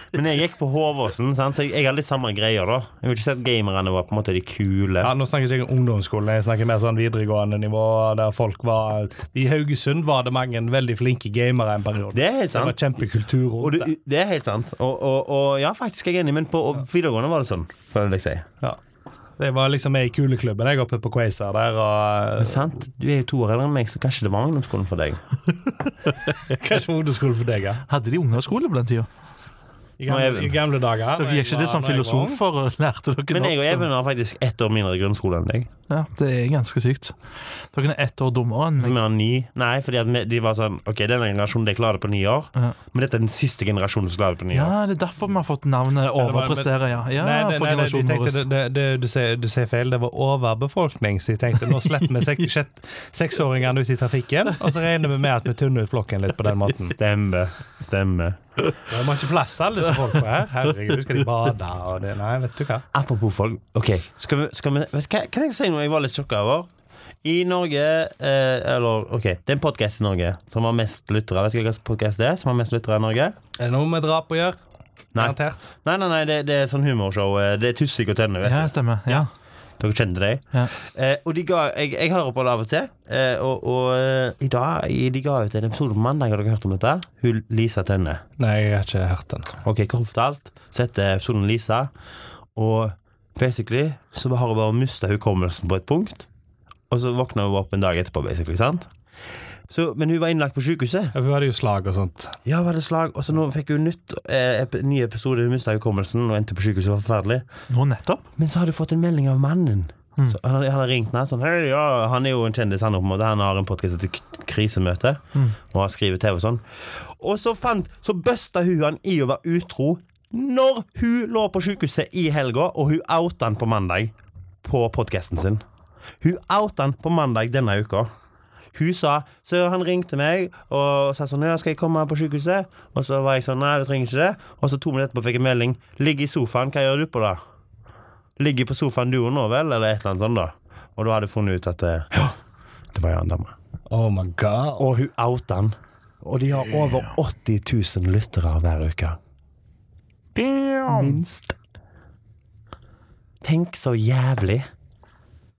[SPEAKER 3] Men jeg gikk på Håvåsen, sant? så jeg, jeg hadde de samme greier da. Jeg vil ikke si at gamerne var på en måte de kule.
[SPEAKER 2] Ja, nå snakker ikke jeg om ungdomsskolen, jeg snakker mer sånn videregående nivå. der folk var... I Haugesund var det mange veldig flinke gamere en periode.
[SPEAKER 3] Det er helt
[SPEAKER 2] Det var
[SPEAKER 3] sant.
[SPEAKER 2] kjempekultur
[SPEAKER 3] Og
[SPEAKER 2] rundt
[SPEAKER 3] du,
[SPEAKER 2] det.
[SPEAKER 3] det er helt sant. Og, og, og ja, faktisk, jeg er enig, men på og videregående var det sånn. Føler jeg si.
[SPEAKER 2] Ja. Det var liksom jeg i kuleklubben, jeg oppe på Quasar der, og
[SPEAKER 3] Sant? Du er jo to år eldre enn meg, så kanskje det var ungdomsskolen for deg.
[SPEAKER 2] kanskje ungdomsskolen for deg, ja.
[SPEAKER 1] Hadde de ungdomsskole på den tida?
[SPEAKER 2] I
[SPEAKER 3] Nå er
[SPEAKER 2] gamle,
[SPEAKER 3] vi-
[SPEAKER 2] i gamle dager. når
[SPEAKER 1] Dere
[SPEAKER 2] jeg
[SPEAKER 1] er ikke
[SPEAKER 2] var-
[SPEAKER 1] det som
[SPEAKER 2] når jeg var ung.
[SPEAKER 1] filosofer og lærte dere
[SPEAKER 3] Men jeg og
[SPEAKER 1] som-
[SPEAKER 3] Even har faktisk ett år mindre grunnskole enn deg.
[SPEAKER 1] Ja, det er ganske sykt. Dere er ett år dummere enn meg.
[SPEAKER 3] Vi har ni. Nei, fordi at vi, de var sånn Ok, denne generasjonen de klarer det på ni år,
[SPEAKER 1] Ja.
[SPEAKER 3] men dette er den siste generasjonen som klarer det på ni år.
[SPEAKER 1] Ja, det er derfor vi har fått navnet
[SPEAKER 2] det var-
[SPEAKER 1] Overprestere, ja. ja
[SPEAKER 2] Nei, det-
[SPEAKER 1] for
[SPEAKER 2] nei, nei, de
[SPEAKER 1] generasjonen
[SPEAKER 2] tenkte,
[SPEAKER 1] vår.
[SPEAKER 2] det, det, det, du, sier, du sier feil. Det var overbefolkning, så de tenkte nå slipper vi sek, sjett- seksåringene ut i trafikken, og så regner vi med at vi tynner ut flokken litt på den måten.
[SPEAKER 3] Stemmer. Stemmer.
[SPEAKER 2] Det var ikke plass til alle disse folka her. Herregud, skal de bade og det? Nei, vet du hva.
[SPEAKER 3] Apropos folk Ok, skal vi, skal vi vet- kan, kan jeg si noe jeg var litt sjokka over? I Norge eh, Eller, ok, det er en podkast i Norge som har mest lyttere. Vet du hvilken podcast det er? Som har mest lyttere i Norge?
[SPEAKER 2] Er det noe med drap å gjøre?
[SPEAKER 3] Nei,
[SPEAKER 2] Garantert.
[SPEAKER 3] nei, nei, nei det, det er sånn humorshow. eh, Det er Tusvik og Tønne. vet
[SPEAKER 1] Ja, stemmer. Ja.
[SPEAKER 3] Dere kjente dem?
[SPEAKER 1] Ja.
[SPEAKER 3] Eh, og de ga, jeg, jeg hører på det av og til. Eh, og og eh, i dag, i- de ga ut en episode på mandag. Har dere hørt om dette? Hun Lisa Tønne.
[SPEAKER 2] Nei, jeg har ikke hørt den.
[SPEAKER 3] Ok, kort fortalt Setter episoden Lisa Og basically Så har hun bare mistet hukommelsen på et punkt Og så våkner hun opp en dag etterpå basically, sant? Så, men hun var innlagt på sykehuset
[SPEAKER 2] Ja, Hun hadde jo slag og sånt.
[SPEAKER 3] Ja, var det slag Og så nå fikk hun nytt eh, ep Ny episode Hun mistet hukommelsen Og endte på sykehuset Det var forferdelig
[SPEAKER 1] Nå nettopp.
[SPEAKER 3] men så har du fått en melding av mannen. Så han, har- han har ringt meg sånn Hei, ja, Han er jo en kjendis, han, på en måte. han har en podkast etter k- krisemøte. Og har skrevet TV og sånn. Og så fant Så busta hun han i å være utro når hun lå på sykehuset i helga, og hun outa han på mandag på podkasten sin. Hun outa han på mandag denne uka. Hun sa Så han ringte meg og sa sånn Ja, skal jeg komme på sykehuset? Og så var jeg sånn Nei, du trenger ikke det. Og så to minutter etterpå fikk jeg melding. Ligg i sofaen, hva gjør du på da? Ligger på sofaen du òg nå, vel? Eller et eller annet sånt, da. Og da hadde jeg funnet ut at eh, Ja, det var jo en dame.
[SPEAKER 2] Oh my god.
[SPEAKER 3] Og hun outa han. Og de har over 80 000 lyttere hver uke.
[SPEAKER 1] Damn.
[SPEAKER 3] Minst. Tenk så jævlig.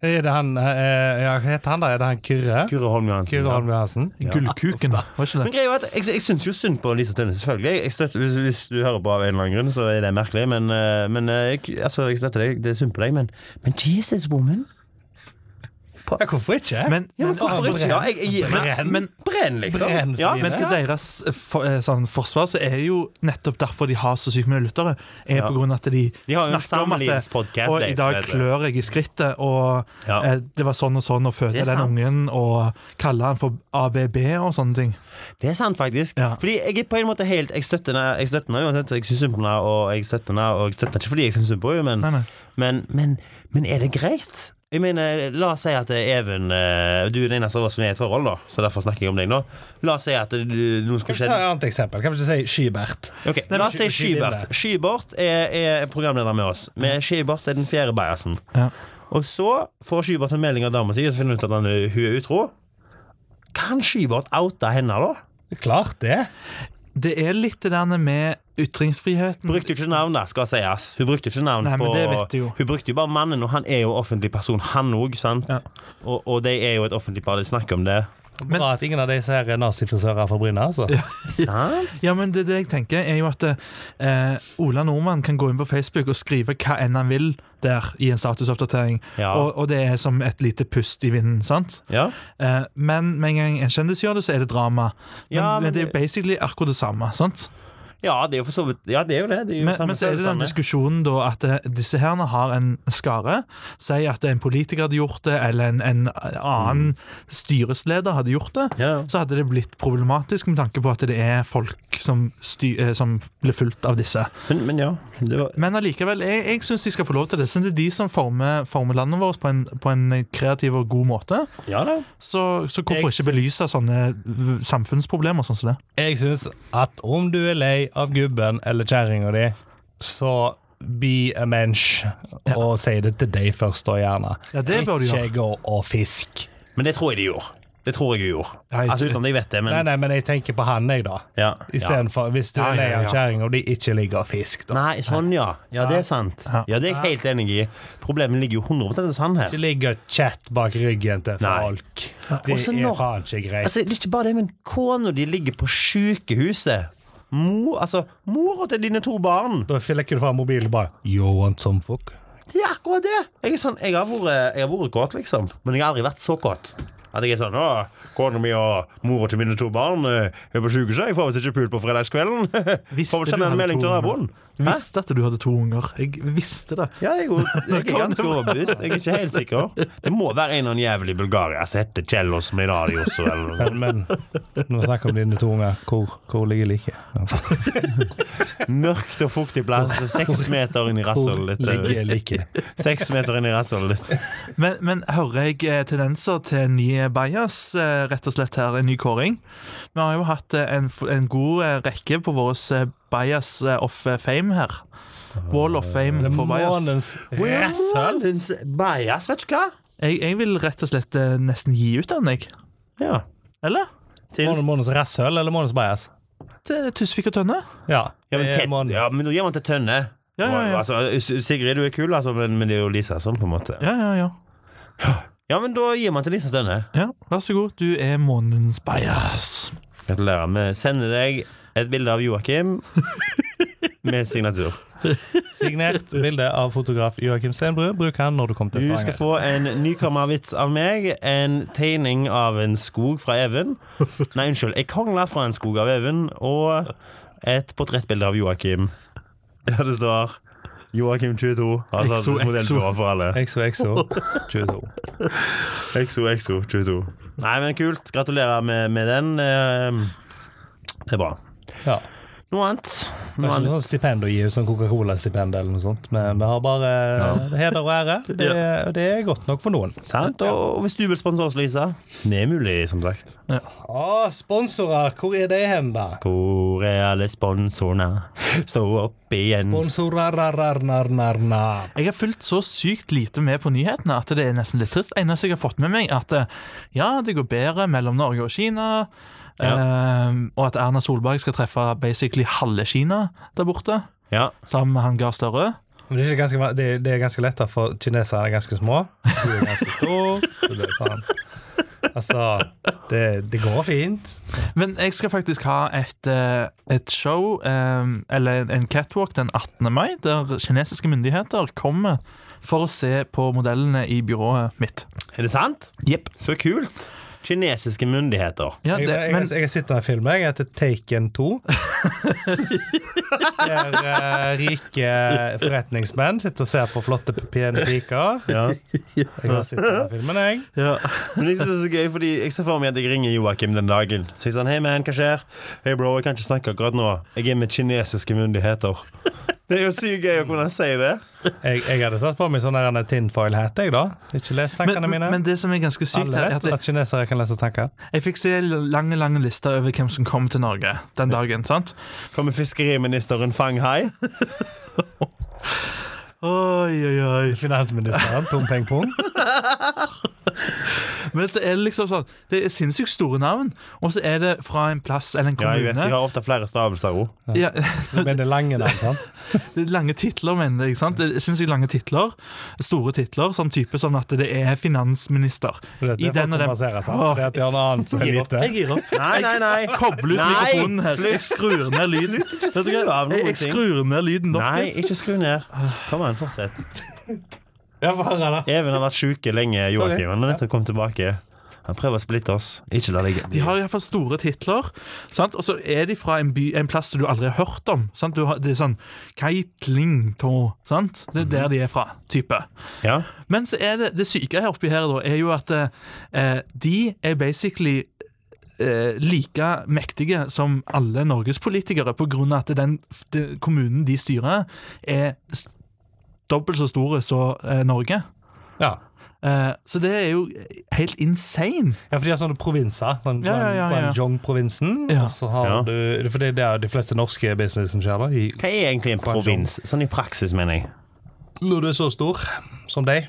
[SPEAKER 2] Er det han eh, Ja, hva heter han da? Er det han Kyrre?
[SPEAKER 3] Kyrre Holm Johansen.
[SPEAKER 2] Kyrre Holm Johansen?
[SPEAKER 1] Gullkuken, var ikke
[SPEAKER 3] Men
[SPEAKER 1] det?
[SPEAKER 3] greia er at jeg, jeg syns jo synd på Lise Tønne, selvfølgelig. Jeg støtter, hvis, hvis du hører på av en eller annen grunn, så er det merkelig, men, eh, men eh, jeg, altså, jeg støtter deg. Det er synd på deg, men, men Jesus, woman!
[SPEAKER 2] Ja, hvorfor ikke?
[SPEAKER 1] Men,
[SPEAKER 3] Ja, men hvorfor ikke? Ja, jeg, jeg,
[SPEAKER 1] Brenn.
[SPEAKER 3] men, brenn, liksom.
[SPEAKER 2] Brenn,
[SPEAKER 3] ja,
[SPEAKER 2] sier
[SPEAKER 1] men til
[SPEAKER 2] Ja.
[SPEAKER 1] deres eh, for, eh, sånn, forsvar så er jo nettopp derfor de har så sykt mye lyttere. Er på grunn av at de,
[SPEAKER 3] De har jo en
[SPEAKER 1] snakker om at det,
[SPEAKER 3] samlivspodcast,
[SPEAKER 1] Og
[SPEAKER 3] det
[SPEAKER 1] i dag
[SPEAKER 3] heter det.
[SPEAKER 1] klør jeg i skrittet, og
[SPEAKER 3] Ja.
[SPEAKER 1] eh, det var sånn og sånn, og fødte
[SPEAKER 3] Det er
[SPEAKER 1] den
[SPEAKER 3] sant.
[SPEAKER 1] ungen, og kaller han for ABB og sånne ting.
[SPEAKER 3] Det er sant, faktisk.
[SPEAKER 1] Ja.
[SPEAKER 3] Fordi jeg er på en måte helt Jeg støtter henne, jeg støtter henne uansett. Jeg syns synd på henne, og jeg støtter henne, og jeg støtter henne ikke fordi jeg syns synd på henne, men,
[SPEAKER 1] Nei, nei.
[SPEAKER 3] men, men, men er det greit? Jeg mener, La oss si at Even eh, Du er den eneste av oss som er i et forhold, da, så derfor snakker jeg om deg nå. La oss si at eh, du, noe
[SPEAKER 2] Kan vi ikke ta
[SPEAKER 3] skulle skjedd
[SPEAKER 2] et annet eksempel? Kan vi ikke si Skybert?
[SPEAKER 3] Ok, La oss si
[SPEAKER 2] Sky-
[SPEAKER 3] Skybert. Skybert er, er programleder med oss. Med Skybert er den fjerde bajasen.
[SPEAKER 1] Ja.
[SPEAKER 3] Og så får Skybert en melding av dama si, og så finner hun ut at han, er- hun er utro. Kan Skybert oute henne, da?
[SPEAKER 2] Klart det.
[SPEAKER 1] Det er litt det der med ytringsfriheten.
[SPEAKER 3] Brukte jo ikke navn, da, skal sies. Hun brukte jo ikke navn
[SPEAKER 1] Nei, men
[SPEAKER 3] på
[SPEAKER 1] det vet du jo.
[SPEAKER 3] Hun brukte jo bare mannen, og han er jo offentlig person, han òg, sant? Og, og de er jo et offentlig par, de snakker om det.
[SPEAKER 1] Men-
[SPEAKER 2] Bra at ingen av disse her er nazifrisører fra Bryne. Altså.
[SPEAKER 3] Sant?
[SPEAKER 1] Ja, men det, det jeg tenker er jo at eh, Ola Nordmann kan gå inn på Facebook og skrive hva enn han vil der i en statusoppdatering,
[SPEAKER 3] Ja.
[SPEAKER 1] og, og det er som et lite pust i vinden, sant?
[SPEAKER 3] Ja.
[SPEAKER 1] Eh, men med en gang en kjendis gjør det, så er det drama. Men,
[SPEAKER 3] Ja, men
[SPEAKER 1] men det er jo
[SPEAKER 3] det-
[SPEAKER 1] basically akkurat det samme, sant?
[SPEAKER 3] ja, det er jo for så vidt Ja, det er jo det. det er jo
[SPEAKER 1] Men,
[SPEAKER 3] samme-
[SPEAKER 1] men så er det den
[SPEAKER 3] samme.
[SPEAKER 1] diskusjonen da at eh, disse herne har en skare. Si at en politiker hadde gjort det, eller en, en
[SPEAKER 3] Mm.
[SPEAKER 1] annen styresleder hadde gjort det.
[SPEAKER 3] Ja.
[SPEAKER 1] Så hadde det blitt problematisk med tanke på at det er folk som, sty eh, som blir fulgt av disse.
[SPEAKER 3] men, men ja. Det var
[SPEAKER 1] Men allikevel, jeg, jeg syns de skal få lov til det. Siden det er de som former, former landet vårt på en, på en kreativ og god måte,
[SPEAKER 3] Ja da.
[SPEAKER 1] så, så
[SPEAKER 2] Jeg
[SPEAKER 1] hvorfor ikke belyse sånne v- samfunnsproblemer sånn som det?
[SPEAKER 2] Jeg syns at om du er lei av gubben eller kjerringa di, så be a mensch og si det til deg først, da gjerne.
[SPEAKER 1] Ja, det bør du
[SPEAKER 2] ikke
[SPEAKER 1] gjøre.
[SPEAKER 2] gå og fisk.
[SPEAKER 3] Men det tror jeg de gjorde. Det tror jeg hun gjorde.
[SPEAKER 1] Ja, jeg-
[SPEAKER 3] altså uten at jeg vet det, men
[SPEAKER 2] Nei, nei, men jeg tenker på han, jeg, da.
[SPEAKER 3] Ja. ja.
[SPEAKER 2] Istedenfor hvis du
[SPEAKER 1] Ja,
[SPEAKER 2] er
[SPEAKER 1] ja,
[SPEAKER 2] lei av
[SPEAKER 1] ja.
[SPEAKER 2] kjerringa og de ikke ligger og fisk, da.
[SPEAKER 3] Nei, sånn ja. Ja, det er sant. Ja, det er jeg helt enig i. Problemet ligger jo 100 hos han her.
[SPEAKER 2] Ikke ligger og chat bak ryggen til
[SPEAKER 3] Nei.
[SPEAKER 2] folk. Det
[SPEAKER 3] Og så
[SPEAKER 2] er
[SPEAKER 3] når-
[SPEAKER 2] faen ikke greit.
[SPEAKER 3] Altså, det er ikke bare det, men kona di ligger på sykehuset. Mor, altså, mora til dine to barn.
[SPEAKER 2] Da flekker du fra mobilen og bare You want some fuck?
[SPEAKER 3] Det er akkurat det. Jeg, er sånn, jeg, har vært, jeg har vært kåt, liksom. Men jeg har aldri vært så kåt. At jeg er sånn Å, kona mi og mora til mine to barn eh, er på sykehuset. Jeg får visst ikke pult på fredagskvelden.
[SPEAKER 1] Visste
[SPEAKER 3] får vel
[SPEAKER 1] du
[SPEAKER 3] sende
[SPEAKER 1] hadde
[SPEAKER 3] en melding til
[SPEAKER 1] to
[SPEAKER 3] naboen.
[SPEAKER 1] Jeg
[SPEAKER 3] Hæ?
[SPEAKER 1] visste at du hadde to unger. Jeg visste det.
[SPEAKER 3] Ja, jeg er, jo- jeg er ganske overbevist. Jeg er ikke helt sikker. Det må være en eller annen jævel i Bulgaria som heter Kjellos Medarios eller noe. sånt.
[SPEAKER 2] Men, men nå snakker vi om dine to unger. Hvor, hvor ligger liket? Ja.
[SPEAKER 3] Mørkt og fuktig plass, seks meter inn i
[SPEAKER 2] Hvor
[SPEAKER 3] rasshølet
[SPEAKER 2] ligger
[SPEAKER 3] ditt.
[SPEAKER 2] liket?
[SPEAKER 3] Seks meter inn i rasshølet ditt.
[SPEAKER 1] Men, men hører jeg eh, tendenser til en ny bias, eh, rett og slett her, en ny kåring? Vi har jo hatt eh, en, f- en god eh, rekke på vår eh, bias eh, of fame her. Wall of fame
[SPEAKER 2] Eh,
[SPEAKER 1] for bias.
[SPEAKER 2] Månens rasshøl.
[SPEAKER 3] Rasshølens bajas, vet du hva?
[SPEAKER 1] Jeg, jeg vil rett og slett eh, nesten gi ut den, jeg.
[SPEAKER 3] Ja.
[SPEAKER 1] Eller?
[SPEAKER 2] Månen- Månens rasshøl eller månens bias?
[SPEAKER 1] Til Tusvik og Tønne.
[SPEAKER 2] Ja.
[SPEAKER 3] Ja, men,
[SPEAKER 2] det er
[SPEAKER 3] Ted,
[SPEAKER 2] månen.
[SPEAKER 3] ja, men nå gir man til Tønne.
[SPEAKER 1] Ja, ja, ja.
[SPEAKER 3] Og, Altså, S- Sigrid, du er kul, altså, men, men det er jo Lisa sånn, på en måte.
[SPEAKER 1] Ja, ja, ja.
[SPEAKER 3] Ja, men da gir man til Lisa Tønne.
[SPEAKER 1] ja Vær så god, du er månedens bias.
[SPEAKER 3] Gratulerer. Vi sender deg et bilde av Joakim med signatur.
[SPEAKER 2] Signert bilde av fotograf Joakim Stenbru. Bruk han når du kommer
[SPEAKER 3] Du
[SPEAKER 2] til
[SPEAKER 3] skal
[SPEAKER 2] Stavanger.
[SPEAKER 3] få en nykommervits av meg, en tegning av en skog fra Even. Nei, unnskyld. Ei kongle fra en skog av Even, og et portrettbilde av Joakim. Der det står Joakim 22. Altså
[SPEAKER 1] Exo, exo.
[SPEAKER 3] modellbyrå for alle.
[SPEAKER 2] XOXO 22.
[SPEAKER 3] Exo, exo, 22. Nei, men kult. Gratulerer med, med den. Eh, Ehm, Det er bra.
[SPEAKER 2] Ja.
[SPEAKER 3] Noe annet? Nå
[SPEAKER 2] Det
[SPEAKER 3] er
[SPEAKER 2] er
[SPEAKER 3] han
[SPEAKER 2] ikke noe sånn stipend å gi, sånn Coca-Cola-stipend eller noe sånt, men det har bare heder og ære. Det, og det er godt nok for noen.
[SPEAKER 3] Sant? Og og hvis du vil sponse oss, Lisa Det er mulig, som sagt.
[SPEAKER 2] Å, Ah, sponsorer! Hvor er de hen, da?
[SPEAKER 3] Hvor er alle sponsorene? Stå opp igjen.
[SPEAKER 2] Sponsorer-nar-nar-nar.
[SPEAKER 1] Jeg har fulgt så sykt lite med på nyhetene at det er nesten litt trist. Det eneste jeg har fått med meg, er at eh, ja, det går bedre mellom Norge og Kina. eh, og at Erna Solberg skal treffe basically halve Kina der borte,
[SPEAKER 3] ja.
[SPEAKER 1] sammen med han Gahr Støre.
[SPEAKER 2] Men Det er, ikke ganske, va- det, det er ganske lett, da, for kinesere er ganske små. Du er ganske stor. Så det er sånn. Altså, det, det går fint.
[SPEAKER 1] Men jeg skal faktisk ha et, eh, et show, eh, eller en- en catwalk, den 18. mai, der kinesiske myndigheter kommer for å se på modellene i byrået mitt.
[SPEAKER 3] Er det sant?
[SPEAKER 1] Jepp.
[SPEAKER 3] Så kult! Kinesiske myndigheter.
[SPEAKER 1] Ja,
[SPEAKER 2] Jeg,
[SPEAKER 1] det,
[SPEAKER 2] jeg,
[SPEAKER 1] men
[SPEAKER 2] jeg, jeg har sett denne filmen. Jeg heter Taken 2. Der eh, rike forretningsmenn sitter og ser på flotte, pene piker.
[SPEAKER 3] Ja.
[SPEAKER 2] Jeg har sett denne filmen, jeg.
[SPEAKER 1] ja.
[SPEAKER 3] Men jeg synes det er så gøy, fordi jeg ser for meg at jeg ringer Joakim den dagen. Så jeg sånn, hei man, hva skjer? Hei bro, jeg kan ikke snakke akkurat nå. Jeg er med kinesiske myndigheter. Det er jo sykt gøy å kunne si det.
[SPEAKER 2] Jeg, jeg hadde tatt på meg sånn der en tinfoil hat, jeg, da. Ikke lest tankene
[SPEAKER 1] Men,
[SPEAKER 2] mine.
[SPEAKER 1] men det som er ganske sykt
[SPEAKER 2] Alle
[SPEAKER 1] her, er at
[SPEAKER 2] vet at kinesere kan lese tanker.
[SPEAKER 1] Jeg fikk se lange, lange lister over hvem som kom til Norge den dagen. sant?
[SPEAKER 3] Kommer fiskeriministeren Fang Hai?
[SPEAKER 1] Oi, oi, oi.
[SPEAKER 2] Finansministeren, Tom Peng Pung.
[SPEAKER 1] Men så er det liksom sånn, det er sinnssykt store navn, og så er det fra en plass eller en
[SPEAKER 3] Ja, jeg
[SPEAKER 1] kommune.
[SPEAKER 3] vet, de har ofte flere stavelser òg.
[SPEAKER 1] Ja,
[SPEAKER 2] Men det er lange navn, sant?
[SPEAKER 1] det er lange titler, mener jeg. ikke sant? Det er sinnssykt lange titler. Store titler, sånn type som at det er finansminister.
[SPEAKER 2] Det er for å kompensere, sant?
[SPEAKER 1] Åh,
[SPEAKER 2] Det er at de har en annen som er
[SPEAKER 1] jeg gir opp.
[SPEAKER 2] lite.
[SPEAKER 1] Jeg gir opp.
[SPEAKER 3] Nei, nei, nei.
[SPEAKER 1] Koble ut
[SPEAKER 3] Nei,
[SPEAKER 1] mikrofonen her.
[SPEAKER 3] slutt.
[SPEAKER 1] Jeg skrur ned lyden. Vet du hva?
[SPEAKER 3] skru av noen
[SPEAKER 1] Jeg, jeg
[SPEAKER 3] ting.
[SPEAKER 1] skrur ned lyden
[SPEAKER 3] Nei,
[SPEAKER 1] deres.
[SPEAKER 3] ikke skru ned. Kom an, fortsett.
[SPEAKER 2] Ja, bare da.
[SPEAKER 3] Even har vært syke lenge, Joakim.
[SPEAKER 2] Ok.
[SPEAKER 3] Han har nettopp kommet tilbake. Han prøver å splitte oss. Ikke la ligge.
[SPEAKER 1] De har iallfall store titler, sant? og så er de fra en, by, en plass du aldri har hørt om. Sant? Du har, det er sånn Keitlingto, sant? Det er der de er fra, type.
[SPEAKER 3] Ja.
[SPEAKER 1] Men så er det, det syke her oppi her da, er jo at eh, de er basically eh, like mektige som alle Norges politikere, på grunn av at den f- de, kommunen de styrer, er s- dobbelt så store som eh, Norge.
[SPEAKER 2] Ja.
[SPEAKER 1] Eh, så det er jo helt insane.
[SPEAKER 2] ja, for de har sånne provinser. Sånn
[SPEAKER 1] Ja, ja, ja, ja.
[SPEAKER 2] Guangdong-provinsen.
[SPEAKER 1] Ja.
[SPEAKER 2] Og så har
[SPEAKER 3] Ja.
[SPEAKER 2] du For det er der de fleste norske businessen skjer, da. I-
[SPEAKER 3] Hva er egentlig en provins? Sånn i praksis, mener jeg.
[SPEAKER 2] Når du er så stor som deg,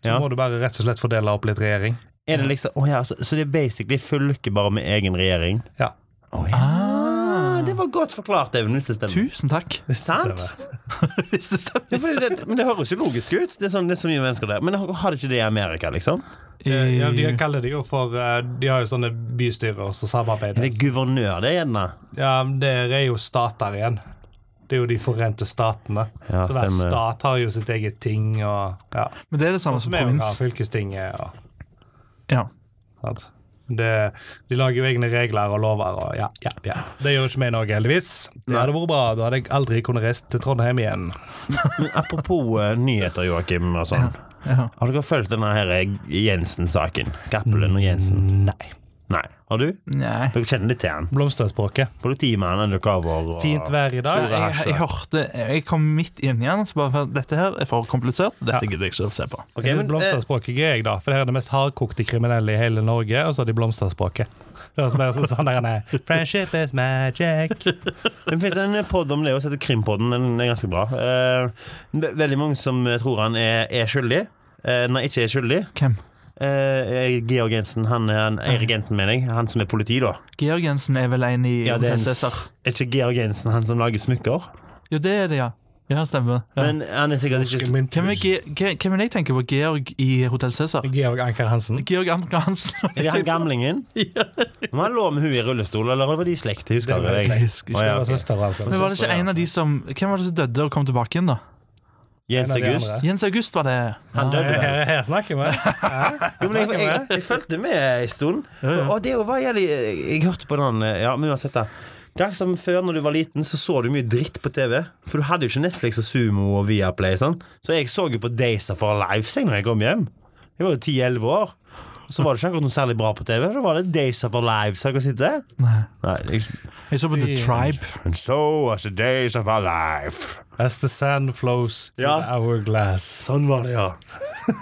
[SPEAKER 2] så
[SPEAKER 3] Ja.
[SPEAKER 2] må du bare rett og slett fordele opp litt regjering.
[SPEAKER 3] Er det liksom, Å ja, så, så det er basically fylke bare med egen regjering?
[SPEAKER 2] Ja.
[SPEAKER 3] Å ja. Det var godt forklart, Even, hvis det stemmer.
[SPEAKER 1] Tusen takk.
[SPEAKER 3] Sant?
[SPEAKER 1] Hvis det stemmer.
[SPEAKER 3] Ja, fordi det, men det høres jo logisk ut. Det er, sånn, det er så mye mennesker der. Men har har det ikke det i Amerika, liksom?
[SPEAKER 2] Eh, Ja, de kaller det jo for eh, De har jo sånne bystyrer som
[SPEAKER 3] Er
[SPEAKER 2] samarbeider.
[SPEAKER 3] det guvernør, det, gjerne?
[SPEAKER 2] Ja, men det er jo stater igjen. Det er jo de forente statene.
[SPEAKER 3] Ja,
[SPEAKER 2] så hver
[SPEAKER 3] stemmer.
[SPEAKER 2] stat har jo sitt eget ting og ja.
[SPEAKER 1] Men det er det samme som
[SPEAKER 2] Som er jo da
[SPEAKER 1] provins.
[SPEAKER 2] fylkestinget og
[SPEAKER 1] Ja.
[SPEAKER 2] sant? Det, de lager jo egne regler og lover og ja, ja, ja. Det gjør jo ikke vi i Norge, heldigvis. Det hadde vært bra. Da hadde jeg aldri kunnet reist til Trondheim igjen.
[SPEAKER 3] Men apropos eh, nyheter, Joakim, og sånn.
[SPEAKER 1] ja.
[SPEAKER 3] Har dere fulgt denne her Jensen-saken? Cappelen og Jensen?
[SPEAKER 2] Nei.
[SPEAKER 3] Nei. Har du?
[SPEAKER 1] Nei.
[SPEAKER 3] Dere kjenner litt til han.
[SPEAKER 2] Blomsterspråket.
[SPEAKER 3] Politimannen dukker over. Og...
[SPEAKER 2] Fint vær i dag.
[SPEAKER 1] Jeg, jeg, hørte Jeg kom midt inn igjen, så bare for at dette her er for komplisert. Dette gidder jeg ikke å se på.
[SPEAKER 3] Ok,
[SPEAKER 2] Jeg synes
[SPEAKER 3] men, eh,
[SPEAKER 2] blomsterspråket er gøy, da. For det her er det mest hardkokte kriminelle i hele Norge, og så har de blomsterspråket. Det høres mer som sånn der nei. Friendship is magic.
[SPEAKER 3] det finnes en pod om det også, heter Krimpodden. Den er ganske bra. Eh, ve- veldig mange som eh, tror han er, er skyldig. Eh, nei, ikke er skyldig.
[SPEAKER 1] Hvem?
[SPEAKER 3] Eh, Georg Jensen, han, han,
[SPEAKER 2] Mm.
[SPEAKER 3] Eirik Jensen, mener jeg. Han som er politi, da.
[SPEAKER 1] Georg Jensen er vel en i
[SPEAKER 3] Ja, det er en-
[SPEAKER 1] prinsesser?
[SPEAKER 3] Er ikke Georg Jensen han som lager smykker?
[SPEAKER 1] Jo, det er det, ja. Ja, stemmer. Ja.
[SPEAKER 3] Men han er sikkert ikke
[SPEAKER 1] Hvem er,
[SPEAKER 2] Georg
[SPEAKER 1] Ge- Ge- hvem er det jeg tenker på? Georg i Hotell Cæsar?
[SPEAKER 2] Anker Hansen.
[SPEAKER 1] Georg Anker Hansen.
[SPEAKER 3] Er det han gamlingen? Men han lå med hun i rullestol, eller var de i slekt? Jeg Husker
[SPEAKER 2] Det var i
[SPEAKER 3] jeg.
[SPEAKER 2] slekt.
[SPEAKER 1] husker
[SPEAKER 3] Å,
[SPEAKER 1] ikke.
[SPEAKER 3] ja,
[SPEAKER 2] Det var sånn
[SPEAKER 3] ok.
[SPEAKER 2] søsteren hans. altså.
[SPEAKER 1] Men var det ikke en av de som Hvem var det som dødde og kom tilbake igjen, da?
[SPEAKER 3] Jens
[SPEAKER 2] En av de
[SPEAKER 3] August.
[SPEAKER 2] andre.
[SPEAKER 1] Jens August, var det?
[SPEAKER 3] Han døde vel.
[SPEAKER 2] Her, her snakker vi. Hæ?
[SPEAKER 3] Jo, men jeg, jeg, jeg fulgte med en stund. Og det jo var jævlig jeg, jeg hørte på den eh, Ja, men uansett, da. Det er ikke som før, når du var liten, så så du mye dritt på TV. For du hadde jo ikke Netflix og Sumo og Viaplay. Sånn. Så jeg så jo på Days of Our Lives jeg, når jeg kom hjem. Jeg var jo 10-11 år. Så var det ikke akkurat noe særlig bra på TV. Da var det Days of Our Lives. Har dere sett det?
[SPEAKER 1] Nei.
[SPEAKER 3] Nei, jeg-
[SPEAKER 1] Jeg så på The Tribe.
[SPEAKER 3] And so was the days of our life.
[SPEAKER 2] As the sand flows to
[SPEAKER 3] Ja.
[SPEAKER 2] the hourglass.
[SPEAKER 3] Sånn var det, ja.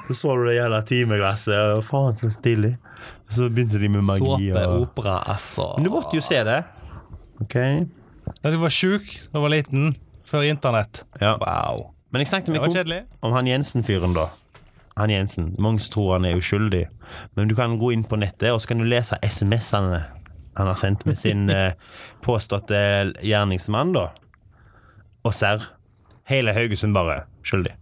[SPEAKER 3] Så så du det jævla timeglasset, og faen så stilig. Så begynte de med magi.
[SPEAKER 2] Såpe,
[SPEAKER 3] Og...
[SPEAKER 2] opera, altså.
[SPEAKER 3] Men du måtte jo se det. Ok.
[SPEAKER 2] Da jeg var sjuk da jeg var liten, før internett.
[SPEAKER 3] Ja.
[SPEAKER 2] Wow.
[SPEAKER 3] Men jeg snakket med
[SPEAKER 2] Det var
[SPEAKER 3] Coop
[SPEAKER 2] kjedelig.
[SPEAKER 3] om han Jensen-fyren, da. Han Jensen. Mange som tror han er uskyldig. Men du kan gå inn på nettet, og så kan du lese SMS-ene han har sendt med sin eh, påståtte eh, gjerningsmann, da. Og serr. Hele Haugesund bare skyldig.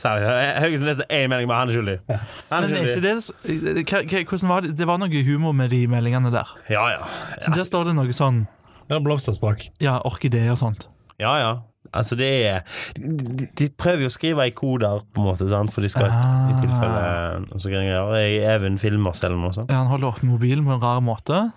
[SPEAKER 3] Serr. Haugesund leste én melding, bare han er skyldig. Han
[SPEAKER 1] Men
[SPEAKER 3] er
[SPEAKER 1] er ikke
[SPEAKER 3] skyldig.
[SPEAKER 1] det, s- hva- hva- hvordan var det? det var noe humor med de meldingene der.
[SPEAKER 3] Ja, ja. altså-
[SPEAKER 1] Så der står det noe sånn
[SPEAKER 2] Det er blomsterspak.
[SPEAKER 1] ja, orkideer og sånt.
[SPEAKER 3] Ja, ja. Altså, det er De, de prøver jo å skrive i koder, på en måte, sant? for de skal i
[SPEAKER 1] Ah.
[SPEAKER 3] tilfelle og så greier jeg, Jeg Even filmer selv noe sånt.
[SPEAKER 1] Ja, han holder opp mobilen på en rar måte.